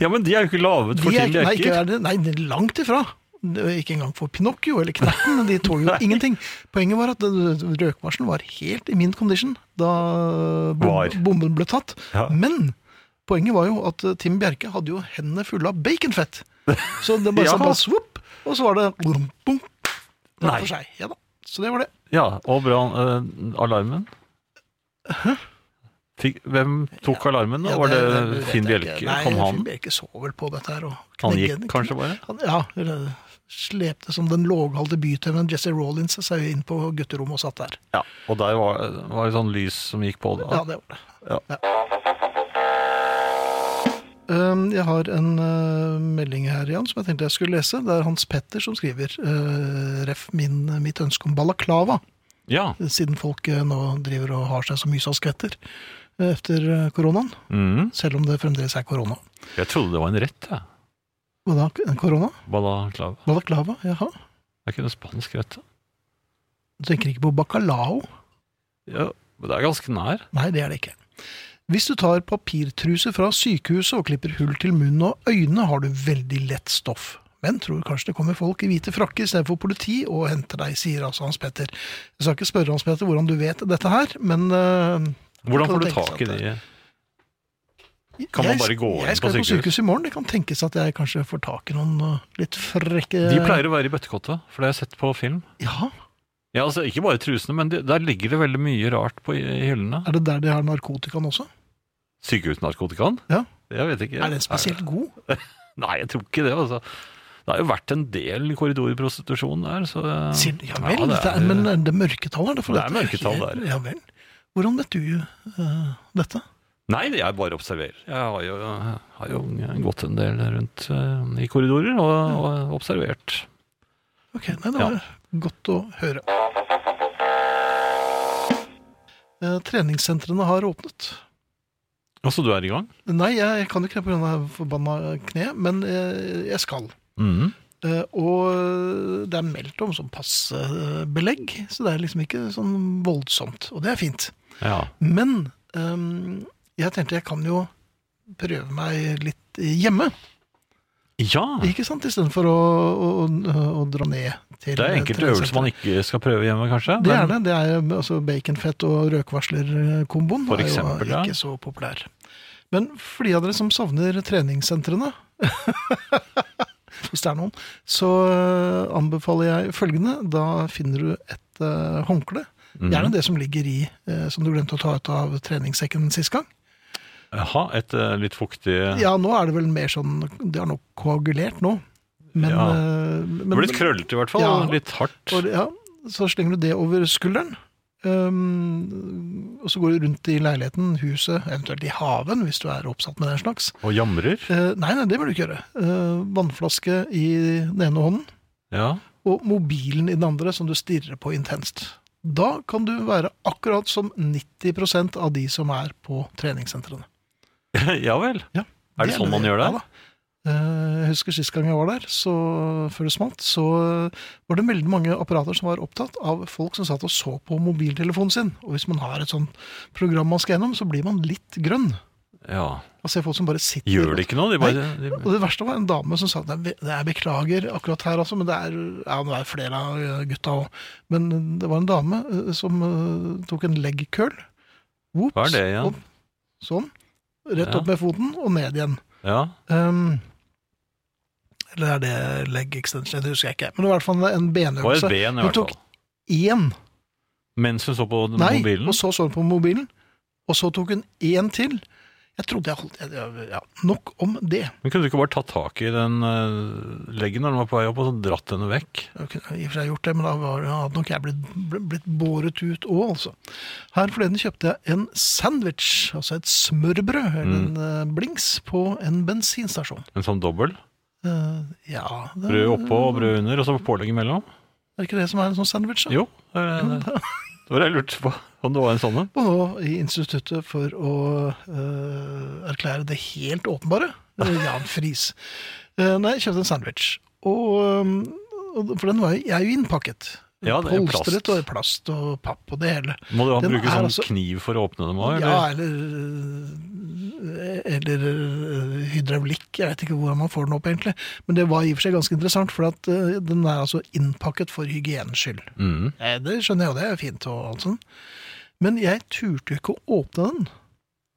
Speaker 3: ja, men de er jo ikke laget for
Speaker 2: de er-
Speaker 3: Tim
Speaker 2: nei, ikke
Speaker 3: Bjerker.
Speaker 2: er det- nei, det er langt ifra. Det er Ikke engang for Pinocchio eller Knerten. De tåler
Speaker 3: (laughs)
Speaker 2: jo ingenting. Poenget var at eh, røkvarselen var helt i min condition da bom-
Speaker 3: Var.
Speaker 2: bomben ble tatt.
Speaker 3: Ja.
Speaker 2: Men poenget var jo at eh, Tim Bjerke hadde jo hendene fulle av baconfett. Så det bare
Speaker 3: (laughs) Ja.
Speaker 2: ja. bare svopp, og så var det blum, bum, det var
Speaker 3: Nei.
Speaker 2: for seg. Ja da. Så det var det.
Speaker 3: Ja, og brann... eh, alarmen? Fikk, hvem tok alarmen? da?
Speaker 2: Ja,
Speaker 3: Var det,
Speaker 2: vet
Speaker 3: Finn
Speaker 2: jeg
Speaker 3: Bjelke?
Speaker 2: ikke. Nei,
Speaker 3: Kom han?
Speaker 2: Finn Bjelke så vel på dette her. Og
Speaker 3: Han
Speaker 2: knegget-
Speaker 3: gikk kanskje bare?
Speaker 2: Han, ja, eller slepte som den låghalte bytømmeren Jesse Rollins seg inn på gutterommet og satt der.
Speaker 3: Ja, og der var, var det sånn lys som gikk på.
Speaker 2: Ja,
Speaker 3: Da.
Speaker 2: det var det.
Speaker 3: Ja.
Speaker 2: Um, Jeg har en uh, melding her, Jan, som jeg tenkte jeg skulle lese. Det er Hans Petter som skriver uh, ref min, mitt ønske om balaklava,
Speaker 3: Ja.
Speaker 2: siden folk uh, nå driver og har seg så mye som skvetter uh, etter uh, koronaen.
Speaker 3: Mhm.
Speaker 2: Selv om det fremdeles er korona.
Speaker 3: Jeg trodde det var en rett, jeg.
Speaker 2: Hva da? Korona?
Speaker 3: Balaklava.
Speaker 2: Balaklava? Jaha.
Speaker 3: Det er ikke noe spansk rett. da.
Speaker 2: Du tenker ikke på bacalao?
Speaker 3: Ja, men det er ganske nær.
Speaker 2: Nei, det er det ikke. Hvis du tar papirtruse fra sykehuset og klipper hull til munnen og øynene, har du veldig lett stoff. Men tror kanskje det kommer folk i hvite frakker istedenfor politi og henter deg, sier altså Hans Petter. Jeg skal ikke spørre Hans Petter hvordan du vet dette her, men øh, kan
Speaker 3: Hvordan får du
Speaker 2: det tenkes
Speaker 3: tak i
Speaker 2: at
Speaker 3: de Kan man
Speaker 2: jeg-
Speaker 3: bare gå inn
Speaker 2: Jeg skal
Speaker 3: på
Speaker 2: på
Speaker 3: sykehus?
Speaker 2: sykehus i morgen. Det kan tenkes at jeg kanskje får tak i noen øh, litt frekke
Speaker 3: De pleier å være i bøttekottet, for det har jeg sett på film.
Speaker 2: Ja,
Speaker 3: Ja, altså Ikke bare trusene, men de, der ligger det veldig mye rart på i- i hyllene.
Speaker 2: Er det der de har narkotikaen også?
Speaker 3: Sykehusnarkotikaen?
Speaker 2: Ja.
Speaker 3: Jeg vet ikke.
Speaker 2: Er den spesielt god?
Speaker 3: Nei, jeg tror ikke det. altså. Det har jo vært en del korridorprostitusjon der. så...
Speaker 2: Sier, ja vel,
Speaker 3: Ja,
Speaker 2: det er, men eh, det er mørketall er det for
Speaker 3: Det er
Speaker 2: dette?
Speaker 3: mørketall der.
Speaker 2: Ja vel. Hvordan vet du eh, dette?
Speaker 3: Nei, jeg bare observerer. Jeg har jo, har jo gått en del rundt eh, i korridorer og, og observert.
Speaker 2: Ok, nei, det
Speaker 3: Ja.
Speaker 2: var godt å høre. Eh, treningssentrene har åpnet.
Speaker 3: Og så du er i gang?
Speaker 2: Nei, jeg, jeg kan ikke det pga. forbanna kne, men eh, jeg skal.
Speaker 3: Mhm.
Speaker 2: Eh, og det er meldt om sånn passe eh, belegg, så det er liksom ikke sånn voldsomt. Og det er fint.
Speaker 3: Ja.
Speaker 2: Men ehm, jeg tenkte jeg kan jo prøve meg litt hjemme.
Speaker 3: ja.
Speaker 2: Ikke sant? Istedenfor å, å, å, å dra ned til
Speaker 3: Det er enkelte øvelser man ikke skal prøve hjemme, kanskje.
Speaker 2: Det er
Speaker 3: men-
Speaker 2: det. det er jo, altså, baconfett og røkvarslerkomboen
Speaker 3: For
Speaker 2: er jo
Speaker 3: eksempel, ja.
Speaker 2: ikke så populær. Men for de av dere som savner treningssentrene (laughs) Hvis det er noen, så eh, anbefaler jeg følgende. Da finner du et eh, håndkle.
Speaker 3: Mhm.
Speaker 2: Gjerne det som ligger i, eh, som du glemte å ta ut av treningssekken sist gang.
Speaker 3: Jaha, et eh, litt fuktig
Speaker 2: Ja, nå er det vel mer sånn Det har nok koagulert nå. Men,
Speaker 3: Ja.
Speaker 2: eh, men
Speaker 3: Det blir litt krøllete i hvert fall.
Speaker 2: Ja.
Speaker 3: og Litt hardt.
Speaker 2: og, ja, Så slenger du det over skulderen. Um, og så går du rundt i leiligheten, huset, eventuelt i haven, hvis du er oppsatt med den slags.
Speaker 3: Og jamrer.
Speaker 2: Eh, nei, nei, det bør du ikke gjøre. Eh, vannflaske i den ene hånden,
Speaker 3: Ja. (laughs)
Speaker 2: og mobilen i den andre, som du stirrer på intenst. Da kan du være akkurat som 90 av de som er på treningssentrene.
Speaker 3: ja vel.
Speaker 2: Ja.
Speaker 3: Er det sånn man gjør det?
Speaker 2: Ja da. Eh, Jeg husker sist gang jeg var der, så, før det smalt, så var det veldig mange apparater som var opptatt av folk som satt og så på mobiltelefonen sin. Og hvis man har et sånt program man skal gjennom, så blir man litt grønn.
Speaker 3: Ja.
Speaker 2: Altså, jeg folk som bare sitter
Speaker 3: Gjør det ikke noe? De bare, de,
Speaker 2: Og det verste var en dame som sa at det er- det er beklager akkurat her, altså, men det er, ja, nå er det flere av eh, gutta òg. Men det var en dame eh, som eh, tok en leg curl. Whoops,
Speaker 3: hva er det igjen?
Speaker 2: opp, sånn. Rett
Speaker 3: Ja.
Speaker 2: opp med foten og ned igjen.
Speaker 3: Ja.
Speaker 2: Ehm, eller er det leg extension? Det husker jeg ikke. Men det var i hvert fall en
Speaker 3: Det var
Speaker 2: benøvelse.
Speaker 3: et ben, i
Speaker 2: Hun
Speaker 3: hvert
Speaker 2: tok
Speaker 3: fall.
Speaker 2: Én.
Speaker 3: Mens hun så på
Speaker 2: Nei,
Speaker 3: mobilen.
Speaker 2: og så så hun på mobilen. Og så tok hun én til. Jeg trodde jeg holdt jeg- ja, Nok om det.
Speaker 3: Men kunne du ikke bare tatt tak i den eh, leggen når den var på vei opp, og så dratt henne vekk?
Speaker 2: Jeg kunne i og for seg gjort det, men da var, ja, hadde nok jeg blitt, blitt båret ut òg, altså. Her forleden kjøpte jeg en sandwich, altså et smørbrød, eller en
Speaker 3: Mm.
Speaker 2: eh, blings, på en bensinstasjon.
Speaker 3: En sånn dobbel?
Speaker 2: Eh, ja det,
Speaker 3: Brød oppå og brød under, og så pålegg imellom?
Speaker 2: Er ikke det som er en sånn sandwich? da?
Speaker 3: Jo. Det er- det var det jeg lurte på. Om det var en sånn en.
Speaker 2: Og nå i instituttet for å øh, erklære det helt åpenbare, øh, Jan Friis. Eh, nei, jeg kjøpte en sandwich. Og, øhm, og, for den var jo, jeg er jo innpakket.
Speaker 3: Ja, det er plast.
Speaker 2: Polstret og i plast og papp og det hele.
Speaker 3: Må du ha-
Speaker 2: Den
Speaker 3: bruke
Speaker 2: er
Speaker 3: sånn
Speaker 2: altså-
Speaker 3: kniv for å åpne dem òg?
Speaker 2: Ja, eller, øh, eller øh, hydraulikk. Jeg vet ikke hvordan man får den opp, egentlig. Men det var i og for seg ganske interessant, for at, øh, den er altså innpakket for hygienens skyld.
Speaker 3: Mm.
Speaker 2: Nei, det skjønner jeg jo, det er fint og alt sånn. Men jeg turte jo ikke å åpne den.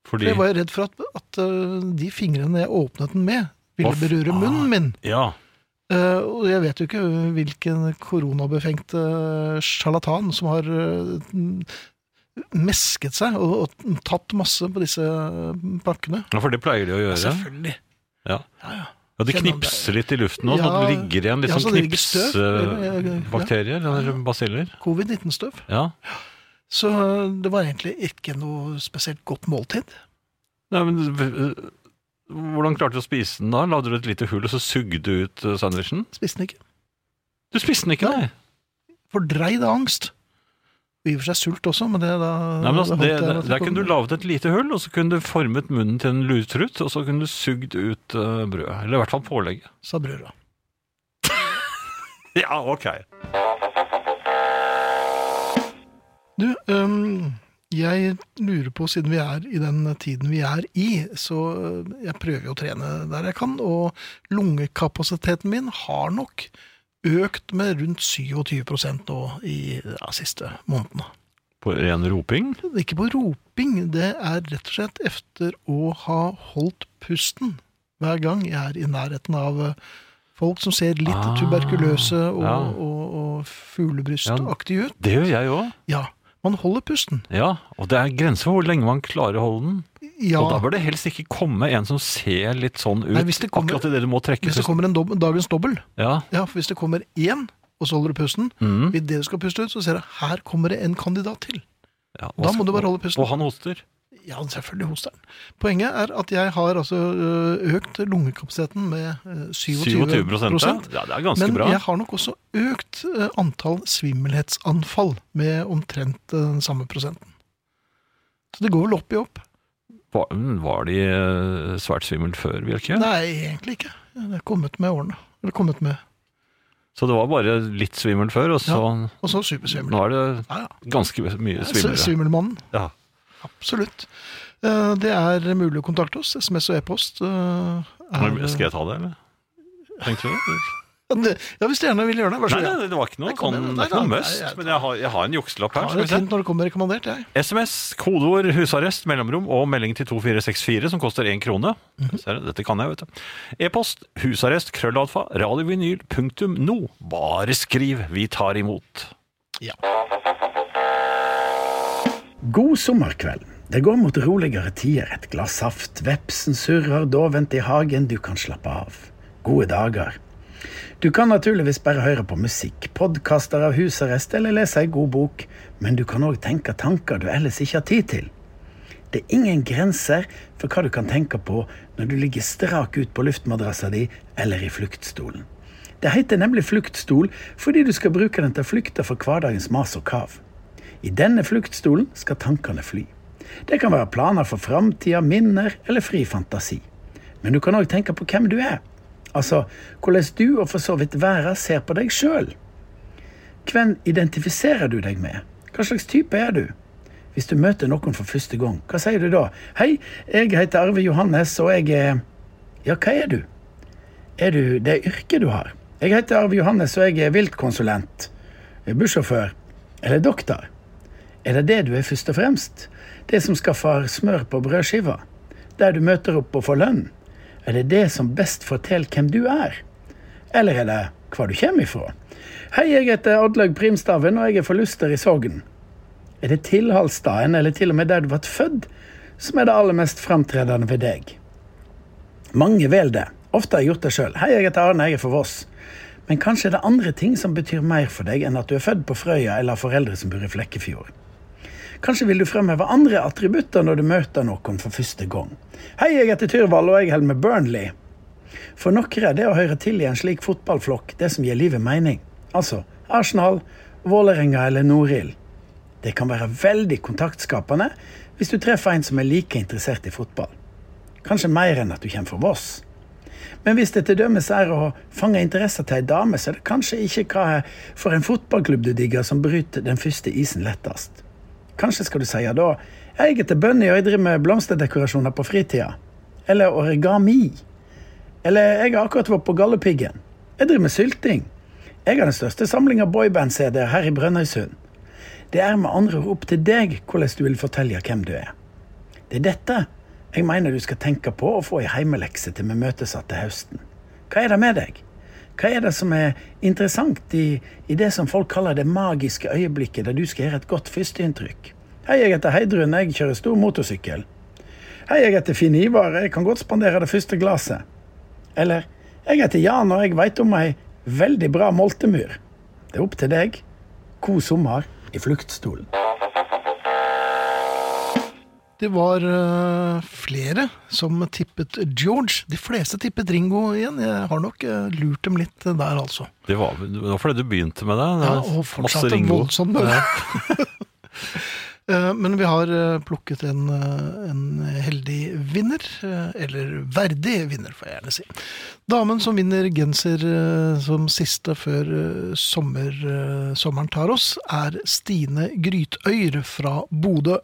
Speaker 2: For
Speaker 3: Fordi
Speaker 2: jeg var jo redd for at, at øh, de fingrene jeg åpnet den med, ville
Speaker 3: Hva f-
Speaker 2: berøre munnen min.
Speaker 3: Ja.
Speaker 2: Eh, og jeg vet jo ikke hvilken koronabefengte sjarlatan som har eh, m- mesket seg og, og tatt masse på disse eh, pakkene.
Speaker 3: ja, for det pleier de å gjøre.
Speaker 2: Selvfølgelig.
Speaker 3: Ja.
Speaker 2: Ja, ja.
Speaker 3: Ja, De
Speaker 2: Kjenner man det?
Speaker 3: knipser litt i luften nå, sånn
Speaker 2: Ja,
Speaker 3: at det ligger igjen litt
Speaker 2: ja,
Speaker 3: sånn
Speaker 2: så det ligger støv, eller, ja, ja.
Speaker 3: knipsbakterier, eller basiller.
Speaker 2: Covid-19-støv.
Speaker 3: Ja.
Speaker 2: Så eh, det var egentlig ikke noe spesielt godt måltid.
Speaker 3: Nei, men øh, Hvordan klarte du å spise den da? Lagde du et lite hull, og så sugde du ut øh, sandwichen?
Speaker 2: Spiste den ikke.
Speaker 3: Du spiste den ikke, nei!
Speaker 2: fordreid av angst. Og I og for seg sult også, men det da
Speaker 3: nei men altså,
Speaker 2: da
Speaker 3: det,
Speaker 2: holdt jeg
Speaker 3: det,
Speaker 2: meg til
Speaker 3: der kunne
Speaker 2: koden.
Speaker 3: du laget et lite hull, og så kunne du formet munnen til en lutrut, og så kunne du sugd ut øh, brødet. Eller i hvert fall pålegget.
Speaker 2: Sa brura.
Speaker 3: Ja, ok.
Speaker 2: Du, øhm, jeg lurer på, siden vi er i den tiden vi er i, så øh, jeg prøver jo å trene der jeg kan, og lungekapasiteten min har nok økt med rundt 27 nå i ja, siste månedene.
Speaker 3: På ren roping?
Speaker 2: Ikke på roping, det er rett og slett efter å ha holdt pusten hver gang jeg er i nærheten av eh, folk som ser litt
Speaker 3: Ah,
Speaker 2: tuberkuløse og,
Speaker 3: ja.
Speaker 2: og, og fuglebrystaktige ut.
Speaker 3: Det gjør jeg òg.
Speaker 2: Ja, man holder pusten.
Speaker 3: Ja, og det er grenser for hvor lenge man klarer å holde den.
Speaker 2: Ja,
Speaker 3: Og da bør det helst ikke komme en som ser litt sånn ut.
Speaker 2: Nei, hvis det kommer-
Speaker 3: akkurat i det du må trekke
Speaker 2: hvis det
Speaker 3: pusten.
Speaker 2: kommer en dob dagens dobbel,
Speaker 3: Ja.
Speaker 2: ja, for hvis det kommer én, og så holder du pusten,
Speaker 3: Mm.
Speaker 2: idet du skal puste ut, så ser du her kommer det en kandidat til.
Speaker 3: ja
Speaker 2: Da
Speaker 3: og-
Speaker 2: må du bare holde pusten.
Speaker 3: Og han hoster.
Speaker 2: Ja, selvfølgelig hoster den. Poenget er at jeg har altså ø, økt lungekapasiteten med ø, 27,
Speaker 3: 27 prosent. Ja, det er ganske
Speaker 2: Men
Speaker 3: bra.
Speaker 2: jeg har nok også økt eh, antall svimmelhetsanfall med omtrent eh, den samme prosenten. Så det går vel opp i opp?
Speaker 3: Var, mm, var de eh, svært svimmel før, Bjelke?
Speaker 2: Nei, egentlig ikke. Det er kommet med årene. Eller kommet med.
Speaker 3: Så det var bare litt svimmel før, og så
Speaker 2: Og så supersvimmel.
Speaker 3: nå er det
Speaker 2: Ja, ja.
Speaker 3: ganske mye svimlere.
Speaker 2: Svimmelmannen.
Speaker 3: Ja.
Speaker 2: Absolutt. Eh, Det er mulig å kontakte oss. SMS og e-post. eh, er-
Speaker 3: Men Skal jeg ta det, eller? Tenkte du det?
Speaker 2: Ja, hvis du gjerne vil gjøre det. Vær så
Speaker 3: Nei,
Speaker 2: god.
Speaker 3: nei, det var ikke noe
Speaker 2: Jeg kommer-
Speaker 3: sånn, det
Speaker 2: nei,
Speaker 3: er ikke noe
Speaker 2: nei,
Speaker 3: must,
Speaker 2: jeg- jeg-
Speaker 3: men jeg har, jeg har en jukselapp her.
Speaker 2: Ja, det
Speaker 3: Skal vi
Speaker 2: er
Speaker 3: se.
Speaker 2: fint når det kommer rekommandert, jeg.
Speaker 3: SMS, kodeord, husarrest, mellomrom og melding til 2464 som koster én krone. Ser du, Dette kan jeg, vet du. E-post husarrest krøllalfa radiovinyl punktum no. Bare skriv, vi tar imot.
Speaker 4: God sommerkveld. Det går mot roligere tider. Et glass saft, vepsen surrer dovent i hagen, du kan slappe av. Gode dager. Du kan naturligvis bare høre på musikk, podkaster av husarrest eller lese ei god bok, men du kan òg tenke tanker du ellers ikke har tid til. Det er ingen grenser for hva du kan tenke på når du ligger strak ut på luftmadrassa di eller i fluktstolen. Det heter nemlig fluktstol fordi du skal bruke den til å flykte fra hverdagens mas og kav. I denne fluktstolen skal tankene fly. Det kan være planer for framtida, minner eller fri fantasi. Men du kan òg tenke på hvem du er. Altså hvordan du og for så vidt verden ser på deg sjøl. Hvem identifiserer du deg med? Hva slags type er du? Hvis du møter noen for første gang, hva sier du da? Hei, jeg heter Arve Johannes, og jeg er Ja, hva er du? Er du det yrket du har? Jeg heter Arve Johannes, og jeg er viltkonsulent, eh, bussjåfør eller doktor. Er det det du er først og fremst? Det som skaffer smør på brødskiva? Der du møter opp og får lønn? Er det det som best forteller hvem du er? Eller er det hvor du kommer ifra? Hei, jeg heter Oddlaug Primstaven, og jeg er fra Luster i Sogn. Er det tilholdsstaden, eller til og med der du ble født, som er det aller mest framtredende ved deg? Mange vel det. Ofte har jeg gjort det sjøl. Hei, jeg heter Arne, jeg er fra Voss. Men kanskje er det andre ting som betyr mer for deg enn at du er født på Frøya eller har foreldre som bor i Flekkefjord. Kanskje vil du fremheve andre attributter når du møter noen for første gang. Hei, jeg heter Tyrvald, og jeg holder med Burnley. For noen er det å høre til i en slik fotballflokk det som gir livet mening. Altså Arsenal, Vålerenga eller Norild. Det kan være veldig kontaktskapende hvis du treffer en som er like interessert i fotball. Kanskje mer enn at du kommer fra Voss. Men hvis det til dømes er å fange interesser til ei dame, så er det kanskje ikke hva for en fotballklubb du digger som bryter den første isen lettest. Kanskje skal du si da jeg heter Bunny og jeg driver med blomsterdekorasjoner på fritida. Eller origami. Eller jeg har akkurat vært på Galdhøpiggen. Jeg driver med sylting. Jeg har den største samlinga boyband-CD-er her i Brønnøysund. Det er med andre ord opp til deg hvordan du vil fortelle hvem du er. Det er dette jeg mener du skal tenke på og få i heimelekse til vi møtes igjen til høsten. Hva er det med deg? Hva er det som er interessant i, i det som folk kaller det magiske øyeblikket der du skal gjøre et godt førsteinntrykk? Hei, jeg heter Heidrun, jeg kjører stor motorsykkel. Hei, jeg heter Finn Ivar, jeg kan godt spandere det første glasset. Eller jeg heter Jan, og jeg veit om ei veldig bra moltemur. Det er opp til deg. God sommer i fluktstolen.
Speaker 2: Det var eh, flere som tippet George. De fleste tippet Ringo igjen. Jeg har nok eh, lurt dem litt eh, der, altså.
Speaker 3: Det var, det var fordi du begynte med det. det
Speaker 2: Ja,
Speaker 3: var
Speaker 2: og
Speaker 3: masse
Speaker 2: fortsatte
Speaker 3: Ringo.
Speaker 2: voldsomt med det. (laughs) Eh, Men vi har eh, plukket en, eh, en heldig vinner, eh, eller verdig vinner, får jeg gjerne si. Damen som vinner genser eh, som siste før eh, sommer, eh, sommeren tar oss, er Stine Grytøyr fra Bodø.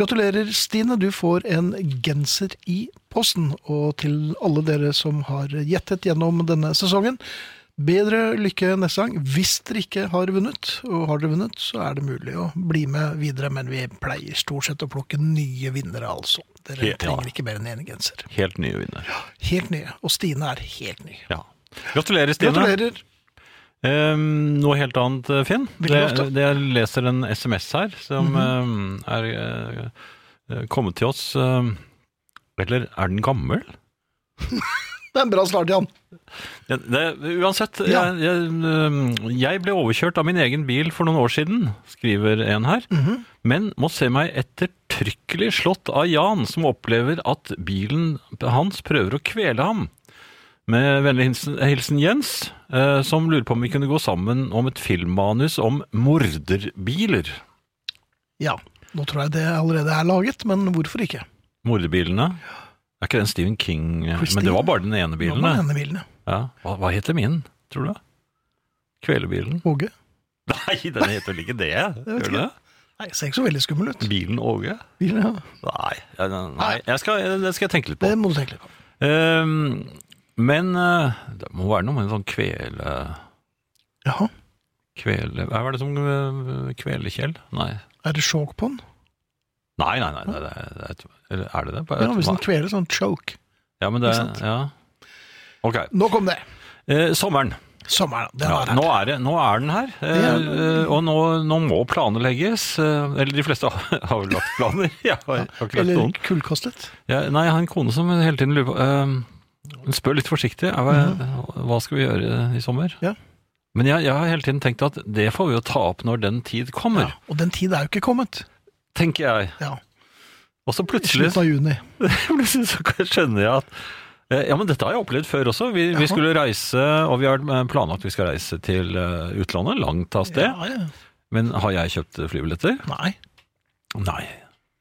Speaker 2: Gratulerer, Stine. Du får en genser i posten. Og til alle dere som har gjettet gjennom denne sesongen, Bedre lykke neste gang. Hvis dere ikke har vunnet, og har dere vunnet, så er det mulig å bli med videre. Men vi pleier stort sett å plukke nye vinnere, altså. Dere
Speaker 3: Ja.
Speaker 2: trenger ikke mer enn én genser.
Speaker 3: Helt ny vinner.
Speaker 2: Helt nye. Og Stine er helt ny.
Speaker 3: Ja. Gratulerer, Stine.
Speaker 2: Gratulerer.
Speaker 3: Ehm, noe helt annet, eh, Finn.
Speaker 2: Veldig
Speaker 3: Det,
Speaker 2: ofte. Mhm.
Speaker 3: det, jeg leser en SMS her som ehm, er eh, kommet til oss. ehm, eller er den gammel?
Speaker 2: Det er en bra start, Jan.
Speaker 3: Det, det, uansett,
Speaker 2: Ja.
Speaker 3: jeg, jeg, ehm, jeg ble overkjørt av min egen bil for noen år siden, skriver en her. Men må se meg ettertrykkelig slått av Jan, som opplever at bilen hans prøver å kvele ham. Med vennlig hilsen, hilsen Jens, eh, som lurer på om vi kunne gå sammen om et filmmanus om morderbiler.
Speaker 2: Ja. Nå tror jeg det allerede er laget, men hvorfor ikke?
Speaker 3: Morderbilene. Er ikke den Stephen King eh,
Speaker 2: Christine.
Speaker 3: Men det var bare den ene bilen.
Speaker 2: Nå må
Speaker 3: det.
Speaker 2: denne bilen, ja.
Speaker 3: Ja. Hva, hva heter min, tror du? Kvelebilen?
Speaker 2: Åge.
Speaker 3: Nei, den heter vel ikke det?
Speaker 2: vet
Speaker 3: Gjør den det?
Speaker 2: Nei, jeg ser ikke så veldig skummel ut.
Speaker 3: Bilen Åge?
Speaker 2: Bilen, ja.
Speaker 3: Nei, ja, nei. Jeg skal, det skal jeg tenke litt på.
Speaker 2: Det må du tenke litt på.
Speaker 3: Ehm, men eh, det må være noe med en sånn kvele...
Speaker 2: Jaha.
Speaker 3: Kvele... Hva er det som eh, kveler Kjell? Nei.
Speaker 2: Er det sjåk på den?
Speaker 3: Nei, nei, nei, det, er- det, er- eller er det det? Jeg
Speaker 2: Ja,
Speaker 3: vet
Speaker 2: hvis den
Speaker 3: ikke hva-
Speaker 2: kveler sånn choke.
Speaker 3: ja, men det,
Speaker 2: ikke sant?
Speaker 3: ja. Ok.
Speaker 2: Nå kom det.
Speaker 3: Eh, sommeren.
Speaker 2: Sommeren. Den
Speaker 3: Ja,
Speaker 2: er her.
Speaker 3: nå, er det, nå er den her, eh, eh, og nå, nå må planene legges. Eh, eller de fleste har, (laughs) har vel lagt planer. Jeg har, har ikke lagt
Speaker 2: Eller
Speaker 3: noen.
Speaker 2: kullkastet.
Speaker 3: Ja, nei, jeg har en kone som hele tiden lurer på eh, Hun spør litt forsiktig. Er, hva- Hva skal vi gjøre i sommer?
Speaker 2: Mhm. Ja.
Speaker 3: Men jeg, jeg har hele tiden tenkt at det får vi jo ta opp når den tid kommer,
Speaker 2: Og den tid er jo ikke kommet.
Speaker 3: tenker jeg.
Speaker 2: Ja,
Speaker 3: Og så
Speaker 2: I
Speaker 3: plutselig,
Speaker 2: slutten av juni.
Speaker 3: (laughs) plutselig så skjønner jeg at eh, ja, men dette har jeg opplevd før også. Vi, vi
Speaker 2: Jaha.
Speaker 3: skulle reise, og vi har eh, planlagt vi skal reise til eh, utlandet, langt av sted.
Speaker 2: Ja, ja.
Speaker 3: Men har jeg kjøpt flybilletter?
Speaker 2: Nei.
Speaker 3: Nei.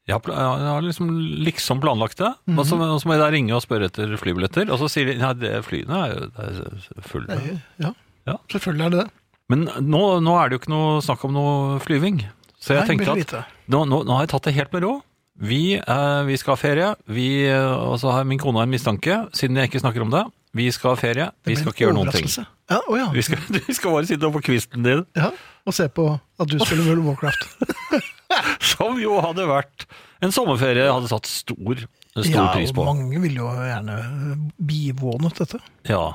Speaker 3: Jeg har, pla- jeg har liksom, liksom planlagt det, og så
Speaker 2: Mhm.
Speaker 3: og så må jeg da ringe og spørre etter flybilletter. Og så sier de nei, det flyene er jo det er fulle.
Speaker 2: Det er, ja.
Speaker 3: Ja.
Speaker 2: Selvfølgelig er det det.
Speaker 3: Men nå, nå er det jo ikke noe snakk om noe flyving. Så jeg
Speaker 2: Nei,
Speaker 3: tenkte
Speaker 2: veldig
Speaker 3: at
Speaker 2: lite.
Speaker 3: nå, nå, nå har jeg tatt det helt med ro. Vi, eh, vi skal ha ferie, vi, eh, og så har min kone en mistanke, siden jeg ikke snakker om det. Vi skal ha ferie,
Speaker 2: Det
Speaker 3: vi
Speaker 2: blir
Speaker 3: skal
Speaker 2: en
Speaker 3: ikke gjøre noen ting.
Speaker 2: overraskelse. Ja, å ja.
Speaker 3: Vi skal, (laughs) vi skal bare sitte oppå kvisten din,
Speaker 2: ja. Og se på at du spiller World of
Speaker 3: (laughs)
Speaker 2: Warcraft.
Speaker 3: som jo hadde vært en sommerferie jeg hadde satt stor, stor
Speaker 2: ja,
Speaker 3: pris på.
Speaker 2: og mange vil jo gjerne bivånet dette.
Speaker 3: Ja,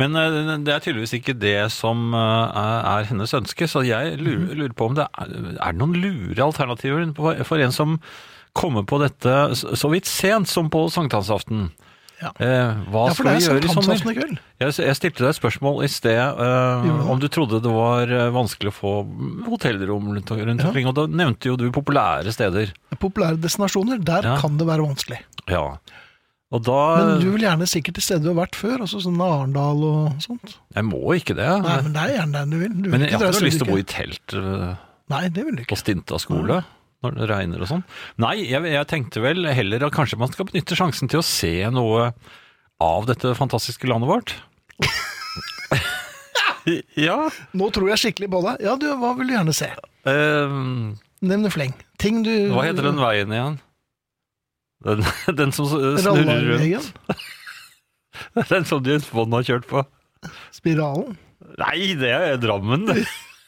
Speaker 3: men eh, det er tydeligvis ikke det som eh, er er hennes ønske, så jeg lurer,
Speaker 2: Mhm.
Speaker 3: lurer på om det er, er det noen lure alternativer på- for en som kommer på dette s- så vidt sent som på sankthansaften.
Speaker 2: Ja.
Speaker 3: Eh, hva
Speaker 2: Ja, for
Speaker 3: skal
Speaker 2: det
Speaker 3: vi
Speaker 2: er
Speaker 3: gjøre i
Speaker 2: sankthansaften i
Speaker 3: sommer?
Speaker 2: kveld.
Speaker 3: Jeg, s- jeg stilte deg et spørsmål i sted eh,
Speaker 2: Gjorde du det?
Speaker 3: om du trodde det var eh, vanskelig å få hotellrom rundt, rundt
Speaker 2: Ja.
Speaker 3: omkring, og da nevnte jo du populære steder.
Speaker 2: Populære destinasjoner, der
Speaker 3: Ja.
Speaker 2: kan det være vanskelig.
Speaker 3: Ja. Og da
Speaker 2: Men du vil gjerne sikkert til steder du har vært før, altså sånn Arendal og sånt.
Speaker 3: Jeg må ikke det.
Speaker 2: Nei, men det er gjerne der du vil. Du vil
Speaker 3: men jeg har
Speaker 2: dra
Speaker 3: ikke noe lyst
Speaker 2: steder
Speaker 3: til å bo
Speaker 2: du
Speaker 3: i telt. eh,
Speaker 2: ikke- Nei, det vil du
Speaker 3: på
Speaker 2: ikke.
Speaker 3: Stinta skole når det regner og sånn. Nei, jeg, jeg tenkte vel heller at kanskje man skal benytte sjansen til å se noe av dette fantastiske landet
Speaker 2: (laughs)
Speaker 3: vårt. ja.
Speaker 2: Nå tror jeg skikkelig på deg. Ja, du, hva vil du gjerne se?
Speaker 3: ehm,
Speaker 2: Nevne fleng. Ting du
Speaker 3: hva heter den veien igjen? Den, den som eh, snurrer rundt.
Speaker 2: Rallarvegen?
Speaker 3: (laughs) Den som James Bond har kjørt på.
Speaker 2: Spiralen?
Speaker 3: Nei, det er Drammen.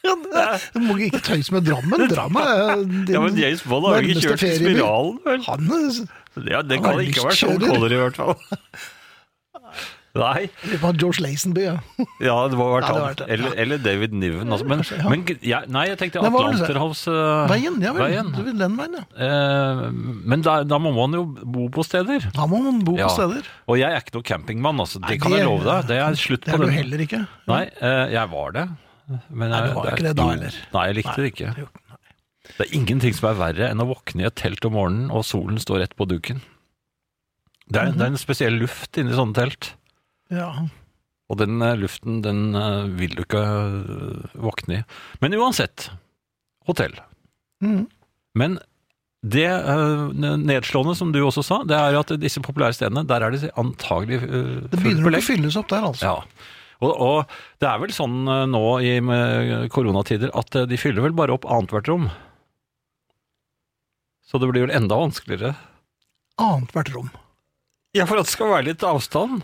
Speaker 2: Ja, det- du må ikke tøyse med Drammen. Drammen er din
Speaker 3: Ja, men James Bond har jo ikke
Speaker 2: nærmeste
Speaker 3: kjørt
Speaker 2: ferieby.
Speaker 3: spiralen, vel?
Speaker 2: Han er-
Speaker 3: Ja, det
Speaker 2: Han
Speaker 3: kan
Speaker 2: er
Speaker 3: ikke ha vært Sean
Speaker 2: lystkjører.
Speaker 3: Connery, i hvert fall. (laughs) Nei.
Speaker 2: Det eh, var George Lazenby, ja.
Speaker 3: Ja, det må ha
Speaker 2: Ja, det
Speaker 3: vært han.
Speaker 2: har vært det,
Speaker 3: Eller, eller David Niven. Altså. Men,
Speaker 2: Kanskje, ja.
Speaker 3: men g- jeg- nei, jeg tenkte
Speaker 2: Nei, hva var det du sa?
Speaker 3: Atlanterhavsveien.
Speaker 2: Veien, ja vel. Du vil den veien, ja.
Speaker 3: Eh, men da, da må man jo bo på steder.
Speaker 2: Da må man bo
Speaker 3: Ja.
Speaker 2: på steder.
Speaker 3: Og jeg er ikke noen campingmann, altså. Det
Speaker 2: Nei,
Speaker 3: kan jeg
Speaker 2: det-
Speaker 3: love deg. Det er slutt
Speaker 2: Det
Speaker 3: på
Speaker 2: er du
Speaker 3: den.
Speaker 2: heller ikke.
Speaker 3: Nei, eh, jeg var det. Men
Speaker 2: Nei, du
Speaker 3: jeg-
Speaker 2: var ikke det da
Speaker 3: jo.
Speaker 2: heller.
Speaker 3: Nei, jeg likte det ikke.
Speaker 2: Jo.
Speaker 3: Det er ingenting som er verre enn å våkne i et telt om morgenen, og solen står rett på duken. Det
Speaker 2: Mhm.
Speaker 3: er, det er en spesiell luft inni sånne telt.
Speaker 2: Ja.
Speaker 3: Og den eh, luften, den eh, vil du ikke eh, våkne i. Men uansett, hotell.
Speaker 2: Mhm.
Speaker 3: Men det eh, nedslående, som du også sa, det er at disse populære stedene, der er det antagelig eh,
Speaker 2: Det
Speaker 3: fullt
Speaker 2: begynner nok å
Speaker 3: belegg.
Speaker 2: fylles opp der, altså.
Speaker 3: Ja. Og, og det er vel sånn eh, nå i med koronatider at eh, de fyller vel bare opp annethvert rom. Så det blir vel enda vanskeligere.
Speaker 2: Annethvert rom.
Speaker 3: Ja, for at det skal være litt avstand.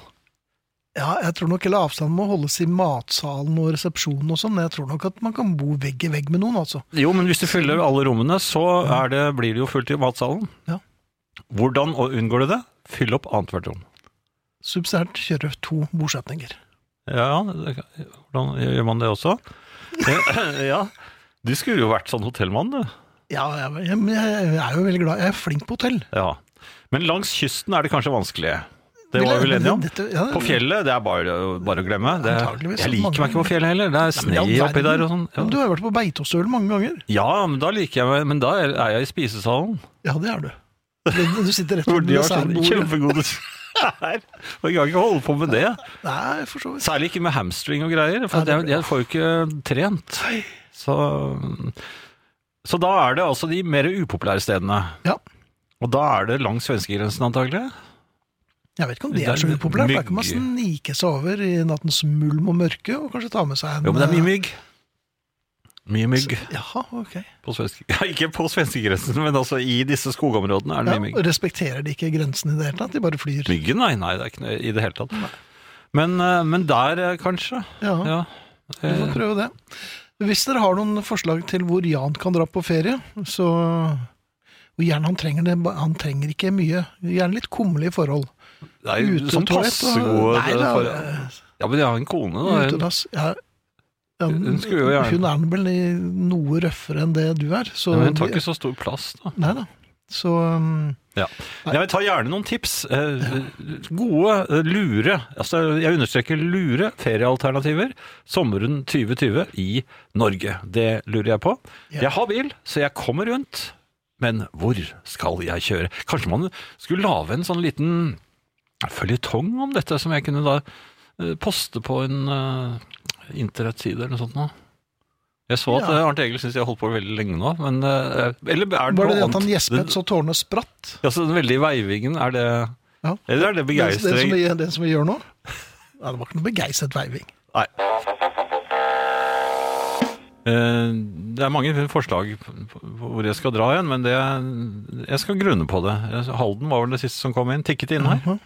Speaker 2: Ja, jeg tror nok hele avstanden må holdes i matsalen og resepsjonen og sånn. Jeg tror nok at man kan bo vegg i vegg med noen, altså.
Speaker 3: Jo, men hvis du fyller alle rommene, så er det, blir det jo fullt i matsalen.
Speaker 2: Ja.
Speaker 3: Hvordan å- unngår du det? Fyll opp annethvert rom.
Speaker 2: Subsidiært kjøre to bordsetninger.
Speaker 3: Ja, det, kan- hvordan gjør man det også? (laughs) ja. Du skulle jo vært sånn hotellmann, du.
Speaker 2: Ja, jeg, jeg, jeg er jo veldig glad. Jeg er flink på hotell.
Speaker 3: Ja. Men langs kysten er det kanskje vanskelig. Det var vi vel enige om.
Speaker 2: Dette- ja,
Speaker 3: På fjellet, det er bare, bare å glemme. Det,
Speaker 2: Antageligvis.
Speaker 3: jeg liker meg ikke på fjellet heller. Det er
Speaker 2: men i all
Speaker 3: sne oppi
Speaker 2: verden.
Speaker 3: der og sånn.
Speaker 2: Men Du
Speaker 3: Ja.
Speaker 2: har jo vært på Beitostølen mange ganger.
Speaker 3: ja, men da liker jeg meg Men da er er jeg i spisesalen.
Speaker 2: Ja, det er du. Du sitter rett
Speaker 3: Hvor
Speaker 2: ved
Speaker 3: de har sånn
Speaker 2: dessertbordet. (laughs)
Speaker 3: kjempegode Nei, Og jeg kan ikke holde på med det.
Speaker 2: Nei, for så vidt.
Speaker 3: Særlig ikke med hamstring og greier, for
Speaker 2: Ja, det
Speaker 3: jeg, jeg får jo ikke trent. Så, så da er det altså de mer upopulære stedene.
Speaker 2: Ja.
Speaker 3: Og da er det langs svenskegrensen antagelig.
Speaker 2: Jeg vet ikke om det
Speaker 3: Det er
Speaker 2: er så upopulært. for Der kan man
Speaker 3: mygg.
Speaker 2: snike seg over i nattens mulm og mørke, og kanskje ta med seg en eh,
Speaker 3: Jo, men det er mye mygg. Mye mygg
Speaker 2: Jaha, ok.
Speaker 3: på svenske... (laughs) Ja, ikke på svenskegrensen, men altså i disse skogområdene er det
Speaker 2: Ja,
Speaker 3: mye mygg.
Speaker 2: respekterer de ikke grensen i det hele tatt? De bare flyr.
Speaker 3: Myggen, nei, nei, det er ikke noe i det hele tatt. Men, eh, men der, eh, kanskje.
Speaker 2: Ja,
Speaker 3: Ja.
Speaker 2: vi får
Speaker 3: Eh,
Speaker 2: prøve det. Hvis dere har noen forslag til hvor Jan kan dra på ferie, så og gjerne han trenger det, han trenger ikke mye. Gjerne litt kummerlige forhold.
Speaker 3: Det er jo sånn
Speaker 2: Utetoalett
Speaker 3: passe
Speaker 2: og-
Speaker 3: gode
Speaker 2: Nei, da, eh,
Speaker 3: for- Ja, men jeg har en kone, da. Hun-
Speaker 2: Utedass. Ja. Ja,
Speaker 3: Hun skulle jo gjerne-
Speaker 2: Hun er vel i noe røffere enn det du er. Så
Speaker 3: Men hun tar ikke så stor plass, da.
Speaker 2: Nei da. Så um,
Speaker 3: Ja. Jeg vil ta gjerne noen tips. Eh, Gode, eh, lure, altså jeg understreker lure, feriealternativer sommeren 2020 i Norge. Det lurer jeg på.
Speaker 2: Ja.
Speaker 3: Jeg har bil, så jeg kommer rundt, men hvor skal jeg kjøre? Kanskje man skulle lage en sånn liten føljetong om dette, som jeg kunne da eh, poste på en eh, internettside eller noe sånt nå. Jeg så at
Speaker 2: Ja.
Speaker 3: eh, Arnt Egil syns jeg har holdt på veldig lenge nå, men eh, Eller er
Speaker 2: var det
Speaker 3: det
Speaker 2: det
Speaker 3: noe
Speaker 2: at han
Speaker 3: annet?
Speaker 2: gjespet så tårene spratt?
Speaker 3: Ja, så den veldige veivingen, er det
Speaker 2: Ja.
Speaker 3: Eller er det
Speaker 2: Det, det, som
Speaker 3: begeistring?
Speaker 2: vi, det som vi gjør nå? Ja, det var ikke noe begeistret veiving.
Speaker 3: Nei. Eh, Det er mange forslag på- på hvor jeg skal dra igjen, men det, jeg skal grunne på det. Halden var vel det siste som kom inn, tikket inn her.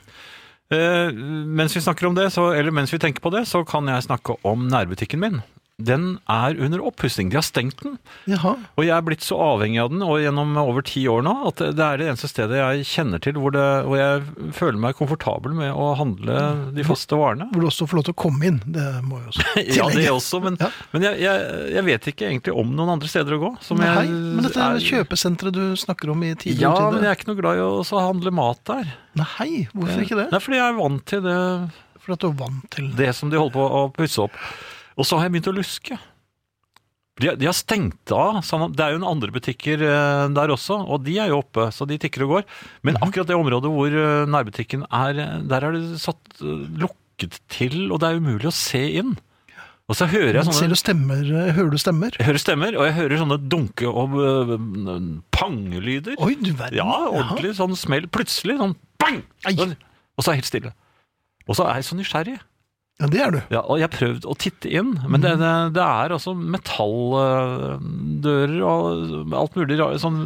Speaker 3: Eh, Mens vi snakker om det, så, eller mens vi tenker på det, så kan jeg snakke om nærbutikken min. Den er under oppussing. De har stengt den.
Speaker 2: Jaha.
Speaker 3: Og jeg er blitt så avhengig av den og gjennom over ti år nå at det er det eneste stedet jeg kjenner til hvor, det, hvor jeg føler meg komfortabel med å handle de faste varene.
Speaker 2: Hvor du også får lov til å komme inn. Det må jo også
Speaker 3: (laughs) Ja, det
Speaker 2: tillegge.
Speaker 3: også, men,
Speaker 2: Ja.
Speaker 3: men jeg, jeg, jeg vet ikke egentlig om noen andre steder å gå. Som
Speaker 2: Nei,
Speaker 3: jeg,
Speaker 2: men dette er kjøpesenteret du snakker om i tidligere
Speaker 3: Ja, men jeg er ikke noe glad i å også handle mat der.
Speaker 2: Nei, hvorfor ikke det?
Speaker 3: Nei, fordi jeg er vant til det,
Speaker 2: Fordi at du er vant til det.
Speaker 3: det som de holder på å pusse opp. Og så har jeg begynt å luske. De, de har stengt av. sånn at- Det er jo noen andre butikker eh, der også, og de er jo oppe, så de tikker og går.
Speaker 2: Mhm.
Speaker 3: Men akkurat det området hvor eh, nærbutikken er, eh, der er det satt eh, lukket til, og det er umulig å se inn. Og så hører jeg
Speaker 2: Men ser
Speaker 3: sånne
Speaker 2: du stemmer, eh, hører du stemmer?
Speaker 3: jeg hører stemmer, og jeg hører sånne dunke- og eh, pangelyder.
Speaker 2: Oi, du verden.
Speaker 3: Ja, ordentlig sånn smell. Plutselig sånn bang!
Speaker 2: Ai.
Speaker 3: Og så er det helt stille. Og så er jeg så nysgjerrig.
Speaker 2: Jaha. Ja, det er du.
Speaker 3: Ja, og jeg har prøvd å titte inn, men det, det, det er altså metalldører og alt mulig rar- sånn,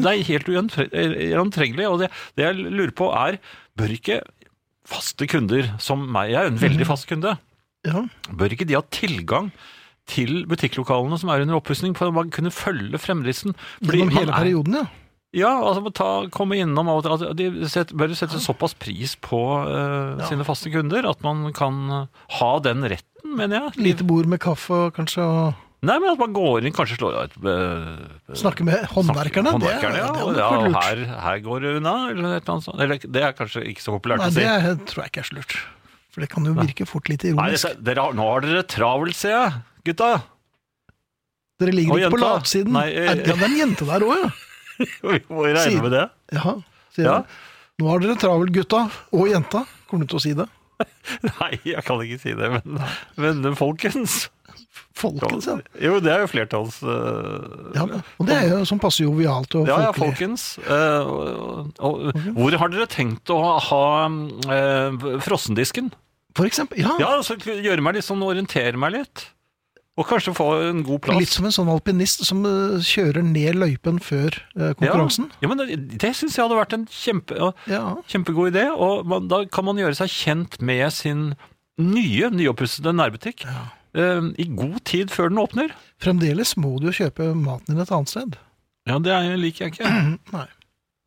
Speaker 3: Det er helt ugjentre- gjennomtrengelig, og det, det jeg lurer på er Bør ikke faste kunder som meg, jeg er jo en veldig fast kunde,
Speaker 2: Ja.
Speaker 3: bør ikke de ha tilgang til butikklokalene som er under oppussing, for at man kunne følge fremdriften? Fordi
Speaker 2: Gjennom hele
Speaker 3: man er-
Speaker 2: perioden, ja.
Speaker 3: ja, altså må ta, komme innom av og til. Altså, De set, bør sette såpass pris på eh, sine faste kunder at man kan eh, ha den retten, mener jeg.
Speaker 2: Lite bord med kaffe og kanskje og
Speaker 3: Nei, men at man går inn, kanskje slår av et eh,
Speaker 2: snakke med håndverkerne.
Speaker 3: snakker-
Speaker 2: det er-
Speaker 3: håndverkerne, ja.
Speaker 2: det
Speaker 3: og
Speaker 2: hadde
Speaker 3: ja,
Speaker 2: vært
Speaker 3: og
Speaker 2: lurt.
Speaker 3: her, her går det unna, eller et eller annet sånt. Eller det er kanskje ikke så populært
Speaker 2: Nei,
Speaker 3: å si.
Speaker 2: det er, tror jeg ikke er så lurt. For det kan jo virke fort litt
Speaker 3: Nei,
Speaker 2: ironisk.
Speaker 3: dere, dere har, nå har dere travelt, ser jeg, gutta. (laughs)
Speaker 2: Dere ligger
Speaker 3: Og
Speaker 2: ikke på
Speaker 3: jenta.
Speaker 2: latsiden.
Speaker 3: Nei, eh,
Speaker 2: Er- ja, det er en jente der òg, ja.
Speaker 3: Vi må jo
Speaker 2: Sier-
Speaker 3: regne med det.
Speaker 2: Jaha, sier
Speaker 3: Ja.
Speaker 2: jeg. Nå har dere travelt, gutta. Og jenta. Kommer du til å si det?
Speaker 3: Nei, jeg kan ikke si det, men, men folkens.
Speaker 2: Folkens, ja.
Speaker 3: Jo, det er jo flertalls... eh,
Speaker 2: ja. da. Og det er jo sånn passe jovialt og
Speaker 3: Ja, Mhm. ja,
Speaker 2: folkelig.
Speaker 3: folkens. eh, og, og, Hvor har dere tenkt å ha eh, frossendisken?
Speaker 2: For eksempel. Ja,
Speaker 3: Ja, så gjøre meg litt sånn, orientere meg litt. Og kanskje få en god plass.
Speaker 2: Litt som en sånn alpinist som eh, kjører ned løypen før eh, konkurransen.
Speaker 3: Ja, ja men det, det syns jeg hadde vært en kjempe, ja,
Speaker 2: Ja.
Speaker 3: kjempegod idé. Og man, da kan man gjøre seg kjent med sin nye, nyoppussede nærbutikk. eh, I god tid før den åpner.
Speaker 2: Fremdeles må du jo kjøpe maten din et annet sted.
Speaker 3: Ja, det er- liker jeg ikke.
Speaker 2: Nei.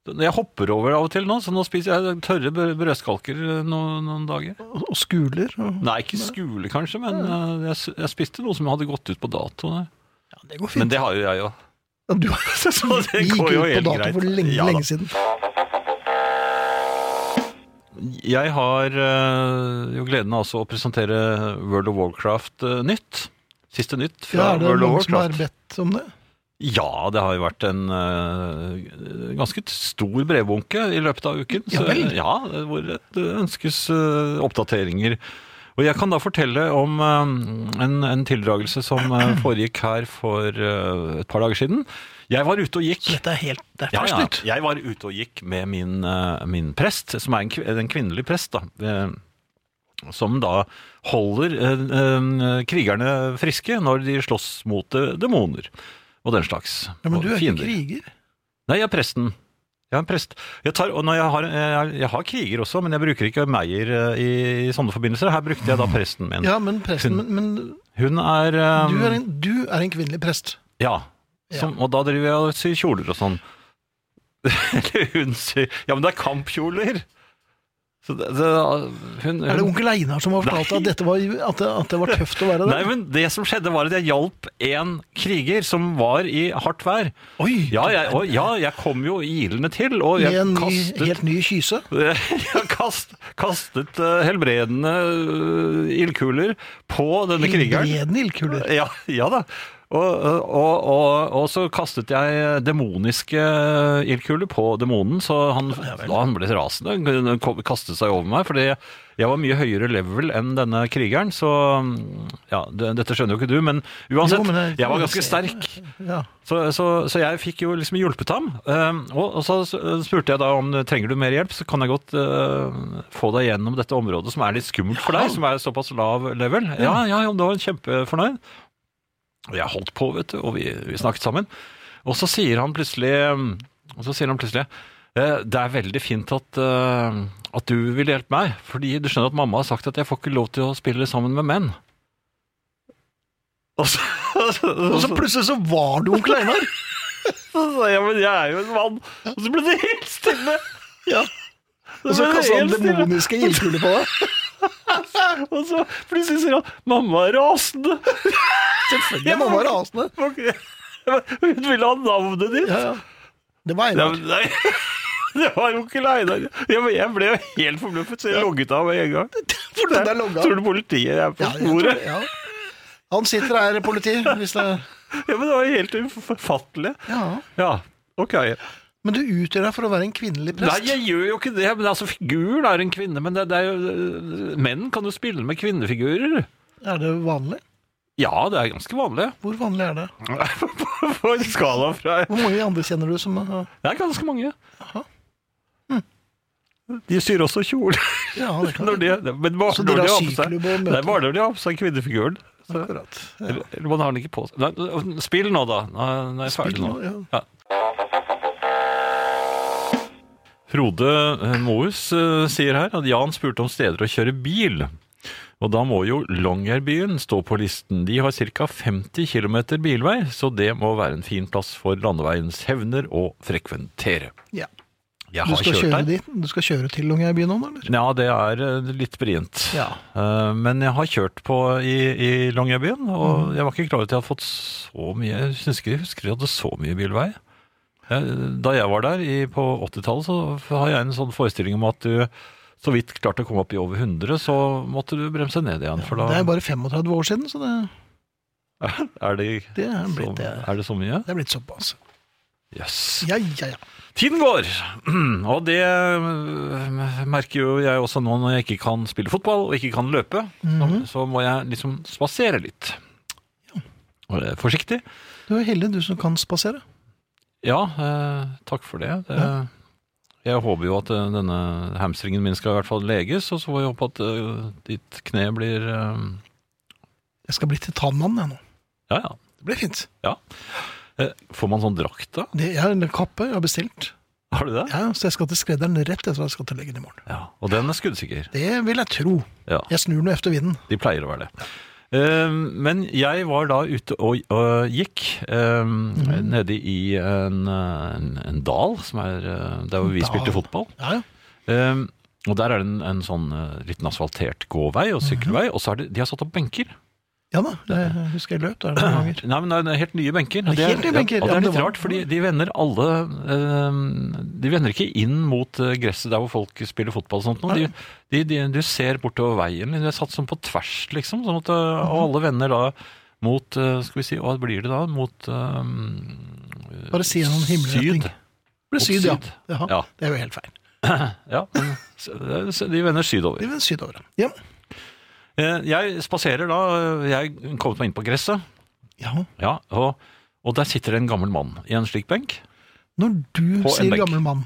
Speaker 3: Jeg hopper over av og til nå, så nå spiser jeg tørre brø- brødskalker eh, noen, noen dager.
Speaker 2: Og, og skuler. Og...
Speaker 3: Nei, ikke skole kanskje, men eh, jeg, s- jeg spiste noe som hadde gått ut på dato. der.
Speaker 2: Ja, det går
Speaker 3: Men
Speaker 2: fint.
Speaker 3: det har jo jeg òg.
Speaker 2: Ja,
Speaker 3: (laughs)
Speaker 2: du, sånn-
Speaker 3: det
Speaker 2: vi gikk
Speaker 3: går
Speaker 2: ut
Speaker 3: jo
Speaker 2: på
Speaker 3: helt
Speaker 2: dato
Speaker 3: greit.
Speaker 2: for lenge,
Speaker 3: Ja da.
Speaker 2: lenge siden.
Speaker 3: Jeg har eh, jo gleden av også å presentere World of Warcraft eh, nytt. Siste nytt
Speaker 2: Ja,
Speaker 3: fra
Speaker 2: er det
Speaker 3: World of
Speaker 2: noen som har
Speaker 3: Warcraft.
Speaker 2: bedt om det?
Speaker 3: Ja, det har jo vært en eh, ganske stor brevbunke i løpet av uken.
Speaker 2: Ja vel.
Speaker 3: ja, hvor det ønskes eh, oppdateringer. Og jeg kan da fortelle om eh, en, en tildragelse som eh, foregikk her for eh, et par dager siden. Jeg var ute og gikk.
Speaker 2: Dette er helt det er
Speaker 3: Ja,
Speaker 2: ferskt
Speaker 3: ja.
Speaker 2: nytt.
Speaker 3: Jeg var ute og gikk med min, eh, min prest, som er en, kv- en kvinnelig prest, da. eh, Som da holder eh, eh, krigerne friske når de slåss mot eh, demoner og den slags.
Speaker 2: Ja, men
Speaker 3: og
Speaker 2: du er ikke
Speaker 3: fiender.
Speaker 2: kriger.
Speaker 3: Nei, jeg er presten. Jeg er en prest. Jeg, tar, og når jeg, har, jeg, jeg har kriger også, men jeg bruker ikke Meyer eh, i, i sånne forbindelser. Her brukte jeg da presten min.
Speaker 2: Ja, men presten Men, men du,
Speaker 3: Hun er eh,
Speaker 2: er en, du er en kvinnelig prest.
Speaker 3: Ja. Som, Og da driver jeg og syr (laughs) kjoler og sånn. Eller hun syr Ja, men det er kampkjoler! Så det, det, hun,
Speaker 2: Er det
Speaker 3: hun,
Speaker 2: onkel Einar som har fortalt deg at, dette var, at, det, at det var tøft å være
Speaker 3: nei,
Speaker 2: der?
Speaker 3: men det som skjedde, var at jeg hjalp en kriger som var i hardt vær.
Speaker 2: Oi!
Speaker 3: Ja, jeg, og, ja, jeg kom jo ilende til, og
Speaker 2: Med
Speaker 3: jeg
Speaker 2: en ny,
Speaker 3: (laughs) kastet
Speaker 2: helt ny kyse?
Speaker 3: Jeg kast, kastet eh, helbredende eh, ildkuler på denne krigeren.
Speaker 2: Helbredende ildkuler.
Speaker 3: Ja, ja da. Og, og, og, og så kastet jeg demoniske ildkuler på demonen, så han, da han ble rasende. Han kom- kastet seg over meg, fordi jeg var mye høyere level enn denne krigeren. Så mm, ja, det, dette skjønner jo ikke du, men uansett,
Speaker 2: Jo, men det-
Speaker 3: jeg var ganske sterk.
Speaker 2: Ja.
Speaker 3: Så, så, så jeg fikk jo liksom hjulpet ham. Eh, og, og så spurte jeg da om trenger du mer hjelp, så kan jeg godt eh, få deg gjennom dette området som er litt skummelt for deg, som er såpass lav level. Ja, ja, ja, det var en kjempefornøyd. Og jeg holdt på, vet du, og vi, vi snakket sammen. Og så sier han plutselig mm, og så sier han plutselig eh, det er veldig fint at, eh, at du vil hjelpe meg, fordi du skjønner at mamma har sagt at jeg får ikke lov til å spille sammen med menn. Og så, (laughs)
Speaker 2: Og
Speaker 3: altså.
Speaker 2: så plutselig så var det onkel Einar!
Speaker 3: så sa jeg, men jeg er jo en mann. Og så ble det helt stille.
Speaker 2: Ja. Og så
Speaker 3: Men
Speaker 2: kasta han
Speaker 3: helt stille.
Speaker 2: demoniske ildkuler
Speaker 3: (laughs)
Speaker 2: på deg.
Speaker 3: Og så plutselig sier han 'mamma er rasende'.
Speaker 2: Selvfølgelig. Mamma var rasende.
Speaker 3: (laughs) Ok. Hun ville ha navnet ditt.
Speaker 2: Ja, ja. Det var
Speaker 3: Nei,
Speaker 2: Einar.
Speaker 3: men nei. (laughs) Det var jo ikke Einar. Jeg ble- jeg ble jo helt forbløffet, så jeg logget av med en (laughs) gang.
Speaker 2: For den er logget av.
Speaker 3: Tror du politiet er på
Speaker 2: Ja, jeg tror
Speaker 3: sporet?
Speaker 2: det, ja. Han sitter her, politi. Hvis det...
Speaker 3: Ja, men det var helt ufattelig.
Speaker 2: ja.
Speaker 3: Ja, ok.
Speaker 2: Men du utgjør deg for å være en kvinnelig
Speaker 3: Nei,
Speaker 2: prest.
Speaker 3: jeg gjør jo ikke det. Men altså, figuren er en kvinne. Men det, det er jo, menn kan jo spille med kvinnefigurer.
Speaker 2: Er det vanlig?
Speaker 3: Ja, det er ganske vanlig.
Speaker 2: Hvor vanlig er det?
Speaker 3: (laughs) På en skala fra
Speaker 2: Hvor mange andre kjenner du som uh,
Speaker 3: Det er ganske mange. De syr også kjole.
Speaker 2: Ja, det kan
Speaker 3: (laughs) Når de, men bare
Speaker 2: Så
Speaker 3: når
Speaker 2: dere
Speaker 3: de
Speaker 2: har
Speaker 3: har på seg,
Speaker 2: syklubb og møte?
Speaker 3: det er bare når de har på seg kvinnefiguren. Så,
Speaker 2: Akkurat.
Speaker 3: eller, eller man har den ikke på seg. Nei, Spill nå, da. Nå nå er jeg ferdig nå.
Speaker 2: Spill nå,
Speaker 3: Ja. Frode eh, Moes eh, sier her at Jan spurte om steder å kjøre bil. Og da må jo Longyearbyen stå på listen. De har ca. 50 km bilvei, så det må være en fin plass for landeveiens hevner å frekventere.
Speaker 2: Ja.
Speaker 3: Jeg
Speaker 2: Du
Speaker 3: har
Speaker 2: skal
Speaker 3: kjørt
Speaker 2: kjøre
Speaker 3: der.
Speaker 2: dit? Du skal kjøre til Longyearbyen nå, eller?
Speaker 3: Ja, det er eh, litt brient.
Speaker 2: Ja.
Speaker 3: Eh, Men jeg har kjørt på i, i Longyearbyen, og
Speaker 2: Mhm.
Speaker 3: jeg var ikke klar over at jeg hadde fått så mye Jeg synes ikke jeg husker jeg hadde så mye bilvei. Jeg- Da jeg var der i, på 80-tallet, så har jeg en sånn forestilling om at du så vidt klarte å komme opp i over 100, så måtte du bremse ned igjen. For da
Speaker 2: Det er bare 35 år siden, så det,
Speaker 3: (laughs) er det,
Speaker 2: det, er,
Speaker 3: så,
Speaker 2: blitt, det, er,
Speaker 3: er det så mye?
Speaker 2: det er blitt såpass.
Speaker 3: Jøss. Yes.
Speaker 2: Ja, ja, ja.
Speaker 3: Tiden går, (clears throat) og det øh, merker jo jeg også nå når jeg ikke kan spille fotball og ikke kan løpe. så, så må jeg liksom spasere litt. Og det er Forsiktig.
Speaker 2: Du er heldig, du som kan spasere.
Speaker 3: Ja, øh, takk for det. det Jeg håper jo at øh, denne hamstringen min skal i hvert fall leges, og så får jeg håpe at øh, ditt kne blir øh,
Speaker 2: Jeg skal bli titanmann, jeg nå.
Speaker 3: Ja, ja.
Speaker 2: Det blir fint.
Speaker 3: ja. Eh, Får man sånn drakt, da?
Speaker 2: Det, jeg har en kappe jeg har bestilt.
Speaker 3: Har du det?
Speaker 2: Ja, så jeg skal til skredderen rett etter at jeg skal til legen i morgen.
Speaker 3: Ja. Og den er skuddsikker.
Speaker 2: Det vil jeg tro.
Speaker 3: Ja.
Speaker 2: Jeg snur nå efter vinden.
Speaker 3: De pleier å være det. Ehm, Men jeg var da ute og, og gikk ehm, nede i en, eh, en, en dal, som er eh, der hvor vi
Speaker 2: Dal.
Speaker 3: spilte fotball.
Speaker 2: Ja, ja.
Speaker 3: Ehm, og der er det en, en sånn eh, liten asfaltert gåvei og sykkelvei, og så er det, de har satt opp benker.
Speaker 2: Ja da, jeg husker jeg løp der
Speaker 3: (clears throat)
Speaker 2: noen ganger.
Speaker 3: Nei, men det er det er helt nye benker. og
Speaker 2: Det er helt nye benker,
Speaker 3: Ja,
Speaker 2: ja,
Speaker 3: og det er
Speaker 2: men
Speaker 3: litt
Speaker 2: det var-
Speaker 3: rart, fordi de vender alle ehm, De vender ikke inn mot eh, gresset der hvor folk spiller fotball og sånt noe. De, de, de, du ser bortover veien. De er satt sånn på tvers, liksom. Sånn at, eh, og alle vender da mot eh, Skal vi si, hva blir det da? Mot ehm,
Speaker 2: Bare si noen himmelretning.
Speaker 3: syd.
Speaker 2: Det ble
Speaker 3: Mot
Speaker 2: syd, ja.
Speaker 3: syd.
Speaker 2: Jaha,
Speaker 3: Ja.
Speaker 2: Det er jo helt feil.
Speaker 3: Ja, men s- de vender sydover.
Speaker 2: Det er vel syd over. Ja.
Speaker 3: Eh, Jeg spaserer da. eh, Jeg kommer meg inn på gresset,
Speaker 2: ja.
Speaker 3: ja, og, og der sitter det en gammel mann i en slik benk.
Speaker 2: Når du
Speaker 3: På en
Speaker 2: sier
Speaker 3: benk.
Speaker 2: gammel mann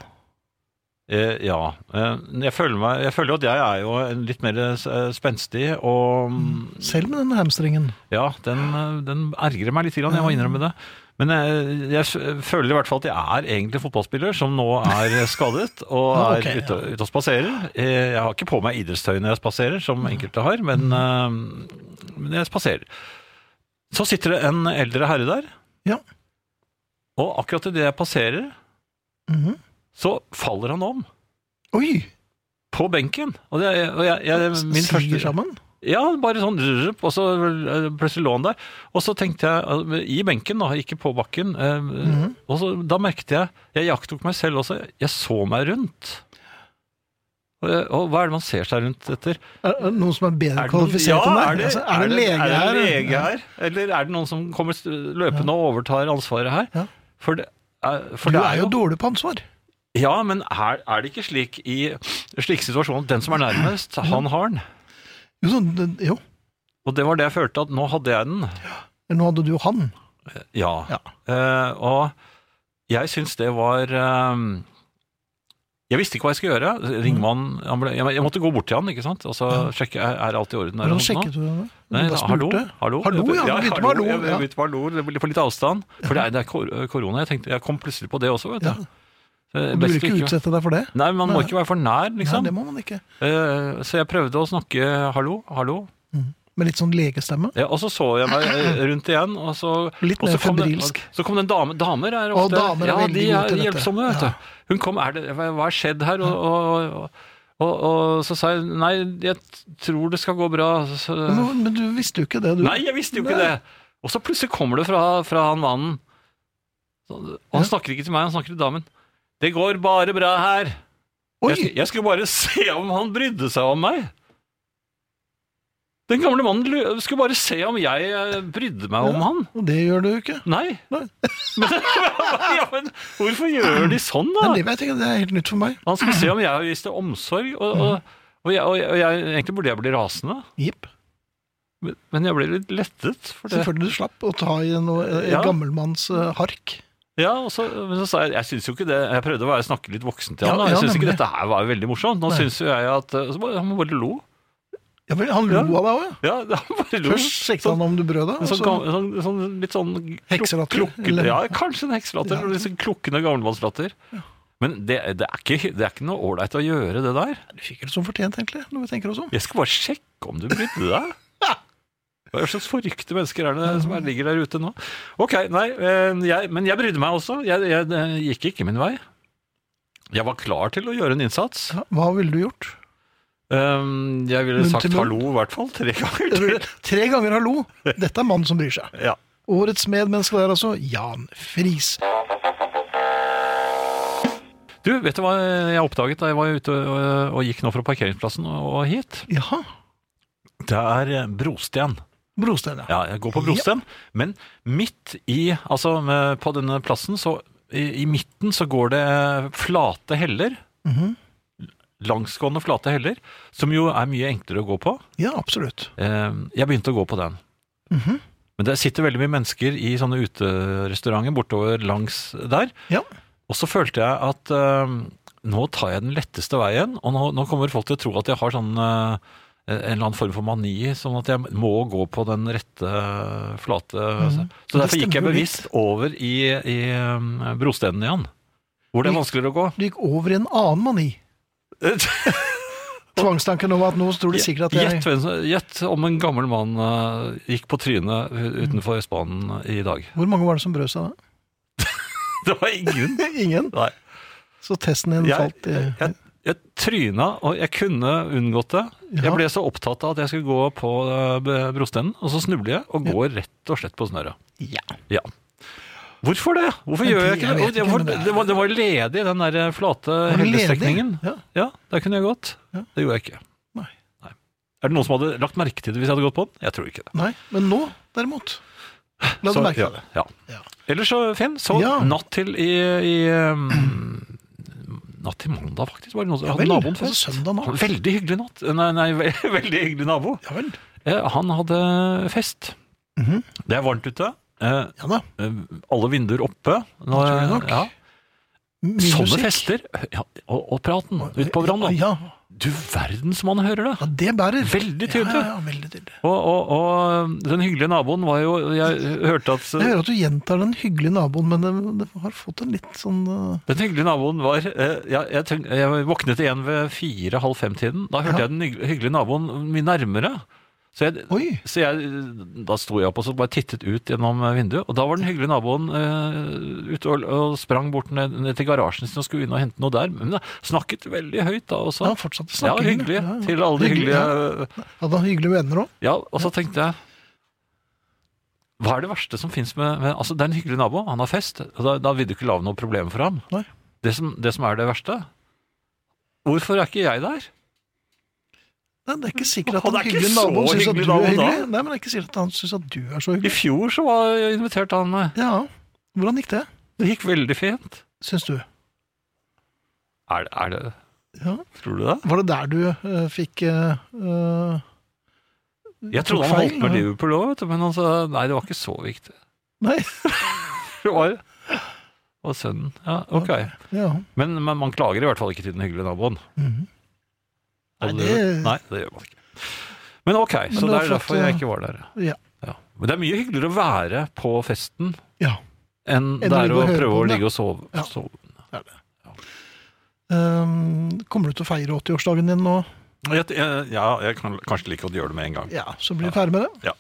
Speaker 3: Eh, ja. Eh, jeg, føler meg, jeg føler jo at jeg er jo en litt mer eh, spenstig, og mm,
Speaker 2: Selv med den hamstringen.
Speaker 3: ja, den, eh, den ergrer meg litt, grann, jeg må innrømme det. Men jeg, jeg s- føler i hvert fall at jeg er egentlig fotballspiller, som nå er
Speaker 2: (laughs)
Speaker 3: skadet og
Speaker 2: Ah,
Speaker 3: er
Speaker 2: ok,
Speaker 3: ute, ute og spaserer. Eh, Jeg har ikke på meg idrettstøy når jeg spaserer, som enkelte har,
Speaker 2: Mm.
Speaker 3: men, eh, men jeg spaserer. Så sitter det en eldre herre der,
Speaker 2: Ja.
Speaker 3: og akkurat idet jeg passerer,
Speaker 2: Mhm.
Speaker 3: så faller han om
Speaker 2: Oi!
Speaker 3: på benken. Og det, og jeg, jeg, min
Speaker 2: Siger
Speaker 3: første
Speaker 2: sammen?
Speaker 3: Ja, bare sånn rup, og så eh, plutselig lå han der. Og så tenkte jeg, eh, i benken da, ikke på bakken, eh,
Speaker 2: Mhm.
Speaker 3: og så, da merket jeg, jeg jakttok meg selv også, jeg så meg rundt. Og, jeg- og hva er det man ser seg rundt etter?
Speaker 2: Er er det noen som er bedre
Speaker 3: Er det noen-
Speaker 2: kvalifisert enn deg?
Speaker 3: er det,
Speaker 2: Altså, er det en lege
Speaker 3: er
Speaker 2: her?
Speaker 3: det en lege her? Eller er det noen som kommer st- løpende og overtar ansvaret her?
Speaker 2: Ja.
Speaker 3: For det, er- for
Speaker 2: Du
Speaker 3: det
Speaker 2: er jo dårlig på ansvar.
Speaker 3: Ja, men er, er det ikke slik i slike situasjoner at den som er nærmest, han har den?
Speaker 2: Jo, sånn, det- jo.
Speaker 3: Og det var det jeg følte, at nå hadde jeg den.
Speaker 2: Men nå hadde du jo han.
Speaker 3: Ja.
Speaker 2: Ja.
Speaker 3: Eh, og jeg syns det var eh, Jeg visste ikke hva jeg skulle gjøre. Ringmann, ambul- jeg, jeg måtte gå bort til han, ikke sant? og så sjekke er, er alt i orden. Er
Speaker 2: Hvordan
Speaker 3: det noe nå?
Speaker 2: sjekket du det? Du
Speaker 3: Nei,
Speaker 2: bare
Speaker 3: hallo,
Speaker 2: spurte?
Speaker 3: hallo,
Speaker 2: Hallo, ja, du begynte med hallo,
Speaker 3: Jeg
Speaker 2: ja.
Speaker 3: begynte med hallo, det blir for litt avstand. For det er, det er kor- korona. Jeg tenkte, jeg kom plutselig på det også, vet du.
Speaker 2: Ja.
Speaker 3: Eh,
Speaker 2: Du
Speaker 3: best
Speaker 2: vil ikke utsette deg for det?
Speaker 3: Nei, man må
Speaker 2: Nei.
Speaker 3: ikke være for nær, liksom.
Speaker 2: Nei, det må man ikke.
Speaker 3: Eh, Så jeg prøvde å snakke hallo, hallo.
Speaker 2: Med litt sånn legestemme.
Speaker 3: Ja, og så så jeg meg eh, rundt igjen, og så
Speaker 2: Litt
Speaker 3: og
Speaker 2: mer
Speaker 3: så kom det-
Speaker 2: febrilsk.
Speaker 3: Så kom det en dame. Damer er
Speaker 2: Å,
Speaker 3: ofte
Speaker 2: damer er
Speaker 3: ja,
Speaker 2: veldig
Speaker 3: de
Speaker 2: gode
Speaker 3: er
Speaker 2: til dette.
Speaker 3: hjelpsomme, vet
Speaker 2: Ja.
Speaker 3: du. Hun kom, er det, hva hva har skjedd her? Og, og, og, og, og så sa jeg nei, jeg tror det skal gå bra. Så,
Speaker 2: Men, men du visste jo ikke det, du.
Speaker 3: Nei, jeg visste jo ikke det! Og så plutselig kommer det fra, fra han mannen. Så- Og han snakker ikke til meg, han snakker til damen. Det går bare bra her. Jeg,
Speaker 2: Oi!
Speaker 3: sk- jeg skulle bare (laughs) se om han brydde seg om meg. Den gamle mannen lu- skulle bare se om jeg eh, brydde meg om han.
Speaker 2: Og det gjør du jo ikke.
Speaker 3: Nei.
Speaker 2: Nei.
Speaker 3: (laughs) Men, ja, men hvorfor gjør de sånn, da?
Speaker 2: Men det vet jeg ikke, det er helt nytt for meg.
Speaker 3: Han skulle se om jeg viste omsorg, og,
Speaker 2: Mm.
Speaker 3: og, og, jeg, og, jeg, og jeg, egentlig burde jeg bli rasende.
Speaker 2: Jipp.
Speaker 3: Men- Men jeg ble litt lettet. For det.
Speaker 2: Selvfølgelig du slapp å ta i noe, eh,
Speaker 3: Ja.
Speaker 2: gammelmanns eh, hark.
Speaker 3: Ja, og så, men så sa jeg jeg synes jo ikke det Jeg prøvde å være, snakke litt voksen til
Speaker 2: Ja,
Speaker 3: han. da. jeg
Speaker 2: ja,
Speaker 3: synes ikke
Speaker 2: nemlig.
Speaker 3: dette her var veldig morsomt. Nå
Speaker 2: Nei.
Speaker 3: synes jo jeg at eh, så bare, Han bare lo.
Speaker 2: Ja, men Han lo
Speaker 3: Ja.
Speaker 2: av deg òg.
Speaker 3: Ja, (laughs) han bare lo.
Speaker 2: Først sjekket han om du brød deg.
Speaker 3: En
Speaker 2: og
Speaker 3: sånn,
Speaker 2: så-
Speaker 3: gam- sånn, sånn, litt sånn klok-
Speaker 2: Hekselatter,
Speaker 3: klokkete-
Speaker 2: eller-
Speaker 3: Ja, kanskje en hekselatter.
Speaker 2: Ja.
Speaker 3: og Litt sånn klukkende gammelmannslatter. Men det, det, er ikke, det er ikke noe ålreit å gjøre det der.
Speaker 2: Du fikk det som fortjent, egentlig, når vi tenker oss om.
Speaker 3: Jeg skal bare sjekke om du brydde deg. Hva slags forrykte mennesker er det som er, ligger der ute nå? Ok, nei, eh, jeg, Men jeg brydde meg også. Jeg, jeg, eh, gikk ikke min vei. Jeg var klar til å gjøre en innsats.
Speaker 2: Ja, Hva ville du gjort?
Speaker 3: Um, jeg ville
Speaker 2: Munn
Speaker 3: sagt
Speaker 2: til munn.
Speaker 3: hallo i hvert fall tre ganger til.
Speaker 2: Tre ganger hallo! Dette er mannen som bryr seg.
Speaker 3: Ja.
Speaker 2: Årets medmenneske der, altså. Jan Friis.
Speaker 3: Du, vet du hva jeg oppdaget da jeg var ute og, og gikk nå fra parkeringsplassen og, og hit?
Speaker 2: Jaha.
Speaker 3: Det er eh, brosten.
Speaker 2: Brostein, ja.
Speaker 3: Ja, jeg går på brosten. Men midt i, altså eh, på denne plassen, så i, i midten så går det eh, flate heller.
Speaker 2: Mhm.
Speaker 3: Langsgående flate heller, som jo er mye enklere å gå på.
Speaker 2: Ja, absolutt.
Speaker 3: Eh, Jeg begynte å gå på den.
Speaker 2: Mhm.
Speaker 3: Men det sitter veldig mye mennesker i sånne uterestauranter bortover langs der.
Speaker 2: Ja.
Speaker 3: Og så følte jeg at eh, nå tar jeg den letteste veien, og nå, nå kommer folk til å tro at jeg har sånn eh, en eller annen form for mani, sånn at jeg må gå på den rette, eh, flate Så
Speaker 2: Mhm. Det
Speaker 3: derfor gikk jeg
Speaker 2: stemmer jo
Speaker 3: bevisst over i, i eh, brostenen igjen. Hvor det er vanskeligere å
Speaker 2: (laughs)
Speaker 3: gå.
Speaker 2: Du gikk over i en annen mani. Tvangstanken om at nå tror de sikkert at
Speaker 3: Gjett
Speaker 2: jeg
Speaker 3: hvem- Gjett om en gammel mann eh, gikk på trynet u- utenfor Østbanen i
Speaker 2: (laughs)
Speaker 3: dag.
Speaker 2: Hvor mange var det som brød seg da?
Speaker 3: Det var (laughs) ingen.
Speaker 2: Ingen.
Speaker 3: Nei.
Speaker 2: Så testen din
Speaker 3: Jeg,
Speaker 2: falt eh, i
Speaker 3: jeg, jeg, tryna, og jeg kunne unngått det. Jeg
Speaker 2: Ja.
Speaker 3: ble så opptatt av at jeg skulle gå på eh, b- brostenen, og så snubler jeg og går rett og slett på snøret.
Speaker 2: Ja.
Speaker 3: Ja. Hvorfor det? Hvorfor
Speaker 2: Men
Speaker 3: gjør
Speaker 2: det-
Speaker 3: jeg ikke
Speaker 2: jeg
Speaker 3: det?
Speaker 2: vet
Speaker 3: Og det
Speaker 2: ikke,
Speaker 3: var,
Speaker 2: men det er-
Speaker 3: det var, det var ledig, den der eh, flate
Speaker 2: Var det ledig?
Speaker 3: hellestrekningen.
Speaker 2: Ja.
Speaker 3: Ja, der kunne jeg gått.
Speaker 2: Ja.
Speaker 3: Det gjorde jeg ikke.
Speaker 2: Nei.
Speaker 3: Er det noen som hadde lagt merke til det hvis jeg hadde gått på den? Jeg tror ikke det.
Speaker 2: Nei, men nå, derimot La du
Speaker 3: Så-
Speaker 2: merke
Speaker 3: ja,
Speaker 2: deg det.
Speaker 3: Ja.
Speaker 2: Ja.
Speaker 3: Ellers så, Finn, så
Speaker 2: Ja.
Speaker 3: natt til i, i (clears throat) um, Natt til mandag, faktisk. Var det noen som
Speaker 2: Ja vel,
Speaker 3: hadde naboen
Speaker 2: altså
Speaker 3: fest.
Speaker 2: søndag natt.
Speaker 3: Veldig hyggelig natt. Eh, Nei, nei (laughs) ve veldig hyggelig nabo.
Speaker 2: Ja vel.
Speaker 3: Eh, han hadde fest.
Speaker 2: Mhm.
Speaker 3: Det er varmt ute. Eh,
Speaker 2: Ja da.
Speaker 3: eh, alle vinduer oppe. Nå, eh,
Speaker 2: Naturlig nok.
Speaker 3: Ja.
Speaker 2: Mye
Speaker 3: Sånne
Speaker 2: musikk.
Speaker 3: fester. Ja, og, og praten ute på verandaen.
Speaker 2: Ja,
Speaker 3: Du verden som han hører det!
Speaker 2: ja, det bærer.
Speaker 3: Veldig
Speaker 2: Ja,
Speaker 3: tydelig.
Speaker 2: ja, ja, veldig tydelig.
Speaker 3: Og, og, og den hyggelige naboen var jo Jeg hørte at eh,
Speaker 2: Jeg hører at du gjentar den hyggelige naboen, men det, det har fått en litt sånn uh,
Speaker 3: Den hyggelige naboen var eh, jeg, jeg, tenk, jeg våknet igjen ved fire-halv fem-tiden. Da hørte
Speaker 2: Ja.
Speaker 3: jeg den hygg- hyggelige naboen mye nærmere. Så jeg,
Speaker 2: Oi.
Speaker 3: så jeg, da sto jeg opp og så bare tittet ut gjennom eh, vinduet, og da var den hyggelige naboen eh, ute og, og sprang bort ned, ned til garasjen sin og skulle inn og hente noe der. Men da snakket veldig høyt da også.
Speaker 2: Ja, han fortsatte å snakke
Speaker 3: Ja,
Speaker 2: hyggelig.
Speaker 3: hyggelig.
Speaker 2: Ja, ja.
Speaker 3: Til alle de
Speaker 2: Hyggelig,
Speaker 3: hyggelige
Speaker 2: Hadde han hyggelige venner òg?
Speaker 3: Ja, og så tenkte jeg Hva er det verste som fins med, med Altså, det er en hyggelig nabo, han har fest. og Da, da vil du ikke lage noe problem for ham.
Speaker 2: Nei.
Speaker 3: Det som, det som er det verste Hvorfor er ikke jeg der?
Speaker 2: Nei, det er ikke sikkert at
Speaker 3: Han
Speaker 2: han
Speaker 3: er ikke
Speaker 2: hyggelige
Speaker 3: så
Speaker 2: naboen syns at
Speaker 3: hyggelig
Speaker 2: du er
Speaker 3: nabo da.
Speaker 2: hyggelig. Nei, men det er ikke sikkert at han syns at du er så
Speaker 3: I
Speaker 2: hyggelig.
Speaker 3: fjor så var jeg invitert han eh,
Speaker 2: Ja, Hvordan gikk det,
Speaker 3: Det gikk veldig fint.
Speaker 2: syns du?
Speaker 3: Er, det- er det
Speaker 2: Ja.
Speaker 3: Tror du det?
Speaker 2: Var det der du eh, fikk eh, eh, Mm.
Speaker 3: Jeg trodde han holdt med Liverpool òg, vet du, men han sa nei, det var ikke så viktig.
Speaker 2: Nei. (laughs)
Speaker 3: Det var, var sønnen. Ja, ok.
Speaker 2: Ja.
Speaker 3: Men, men man klager i hvert fall ikke til den hyggelige naboen.
Speaker 2: Mhm.
Speaker 3: Og
Speaker 2: Nei, det-
Speaker 3: nei, det gjør man ikke. Men ok,
Speaker 2: Men
Speaker 3: så
Speaker 2: det
Speaker 3: det
Speaker 2: var
Speaker 3: er
Speaker 2: flott,
Speaker 3: derfor
Speaker 2: ja.
Speaker 3: jeg ikke var der.
Speaker 2: Ja.
Speaker 3: Men det er mye hyggeligere å være på festen
Speaker 2: ja.
Speaker 3: enn
Speaker 2: Enn å
Speaker 3: det er
Speaker 2: ligge
Speaker 3: å
Speaker 2: og høre på
Speaker 3: prøve å
Speaker 2: den, ja.
Speaker 3: ligge og sove.
Speaker 2: Ja.
Speaker 3: sove.
Speaker 2: Ehm, kommer du til å feire 80-årsdagen din nå?
Speaker 3: Jeg, jeg, ja, jeg kan kanskje like godt gjøre det med en gang.
Speaker 2: Ja, så blir vi ferdig med det.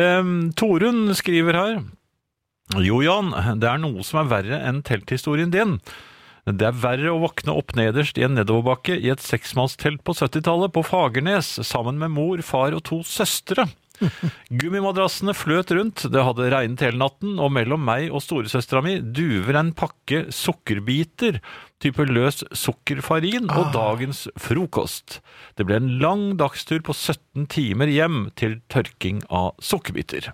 Speaker 3: Ehm, Torunn skriver her Jo Jan, det er noe som er verre enn telthistorien din. Det er verre å våkne opp nederst i en nedoverbakke i et seksmannstelt på 70-tallet på Fagernes sammen med mor, far og to søstre. Gummimadrassene fløt rundt, det hadde regnet hele natten, og mellom meg og storesøstera mi duver en pakke sukkerbiter, type løs sukkerfarin, og dagens frokost. Det ble en lang dagstur på 17 timer hjem til tørking av sukkerbiter.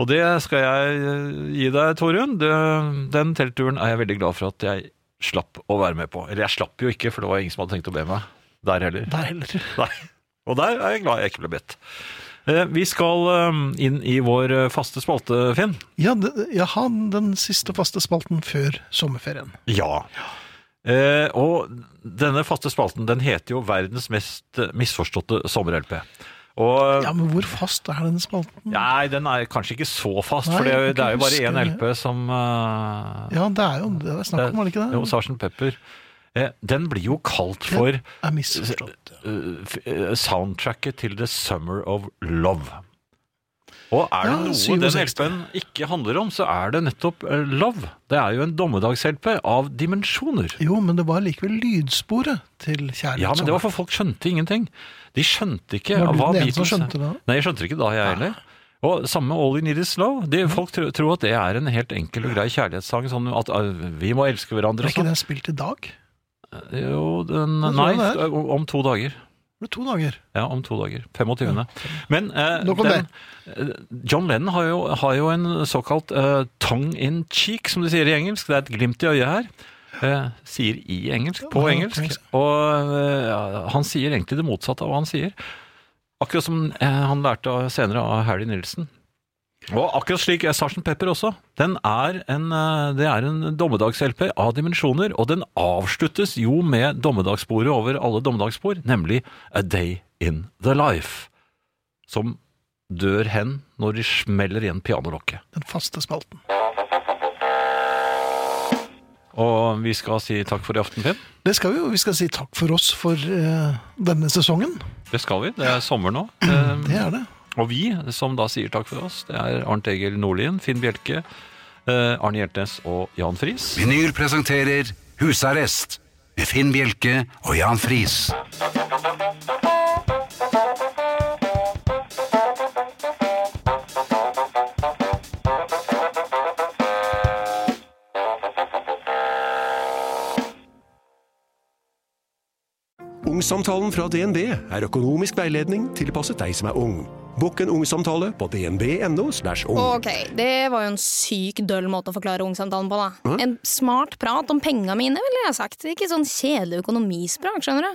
Speaker 3: Og det skal jeg eh, gi deg, Torunn. Det- Den teltturen er jeg veldig glad for at jeg slapp å være med på. Eller jeg slapp jo ikke, for det var ingen som hadde tenkt å be meg der heller.
Speaker 2: Der heller.
Speaker 3: (laughs) Nei. Og der er jeg glad jeg ikke ble bedt. Eh, Vi skal eh, inn i vår eh, faste spalte, Finn.
Speaker 2: Ja, det- jaha, den siste faste spalten før sommerferien.
Speaker 3: Ja. Eh, og denne faste spalten den heter jo 'Verdens mest eh, misforståtte sommer-LP'. Og
Speaker 2: Ja, men hvor fast er den spalten?
Speaker 3: Nei, den er kanskje ikke så fast,
Speaker 2: Nei,
Speaker 3: for det, er jo-
Speaker 2: jeg
Speaker 3: det er jo
Speaker 2: kan
Speaker 3: bare
Speaker 2: ikke
Speaker 3: én
Speaker 2: huske det.
Speaker 3: LP som eh,
Speaker 2: Ja, det er jo det er snakk om, er det ikke det?
Speaker 3: Jo, Sarsen Pepper. Eh, den blir jo kalt for
Speaker 2: er misforstått.
Speaker 3: eh, f- eh, soundtracket til The Summer of Love. Og er det
Speaker 2: Ja,
Speaker 3: noe
Speaker 2: 67.
Speaker 3: den LP-en ikke handler om, så er det nettopp eh, love. Det er jo en dommedags-LP av dimensjoner.
Speaker 2: Jo, men det var likevel lydsporet til kjærlighet.
Speaker 3: Ja, men det var
Speaker 2: som-
Speaker 3: for folk skjønte ingenting. De skjønte ikke
Speaker 2: Var du
Speaker 3: hva
Speaker 2: den eneste som
Speaker 3: Beatles-
Speaker 2: skjønte det?
Speaker 3: Nei, jeg skjønte det ikke da, jeg heller. Og samme All You Need Is Love. De, folk tro- tror at det er en helt enkel og grei kjærlighetssang. Sånn at eh, vi må elske
Speaker 2: Er
Speaker 3: hverandre. og
Speaker 2: ikke
Speaker 3: sånn.
Speaker 2: den spilt i dag? Det
Speaker 3: Jo, den,
Speaker 2: Jeg tror
Speaker 3: nei,
Speaker 2: det er.
Speaker 3: om om to dager.
Speaker 2: ble to dager.
Speaker 3: Ja, om to dager. 25. Men eh,
Speaker 2: Nok om
Speaker 3: den, eh, John Lennon har jo, har jo en såkalt eh, tongue in cheek, som de sier i engelsk. Det er et glimt i øyet her. Eh, sier i engelsk,
Speaker 2: ja,
Speaker 3: på
Speaker 2: på
Speaker 3: engelsk.
Speaker 2: engelsk.
Speaker 3: Og eh, ja, han sier egentlig det motsatte av hva han sier. Akkurat som eh, han lærte av- senere av Harry Nilsen. Og akkurat slik er Sarsen Pepper også. Den er en, eh, det er en dommedags-LP av dimensjoner, og den avsluttes jo med dommedagssporet over alle dommedagsspor, nemlig A Day In The Life, som dør hen når de smeller igjen pianolokket.
Speaker 2: Den faste spalten.
Speaker 3: Og vi skal si takk for i aften, Finn.
Speaker 2: Det skal vi jo. Vi skal si takk for oss for eh, denne sesongen.
Speaker 3: Det skal vi. Det er sommer (clears throat) nå. Eh,
Speaker 2: Det er det.
Speaker 3: Og vi som da sier takk for oss, det er Arnt Egil Nordlien, Finn Bjelke, eh, Arne Hjeltnes og Jan Friis.
Speaker 1: Vinyl presenterer Husarrest med Finn Bjelke og Jan Friis.
Speaker 5: Ungsamtalen fra DNB er økonomisk veiledning tilpasset deg som er ung. Bokk en ungsamtale på dnb.no. /ung.
Speaker 6: Ok, det var jo en syk døll måte å forklare ungsamtalen på, da. En smart prat om penga mine, ville jeg ha sagt. Ikke sånn kjedelig økonomisprat, skjønner du.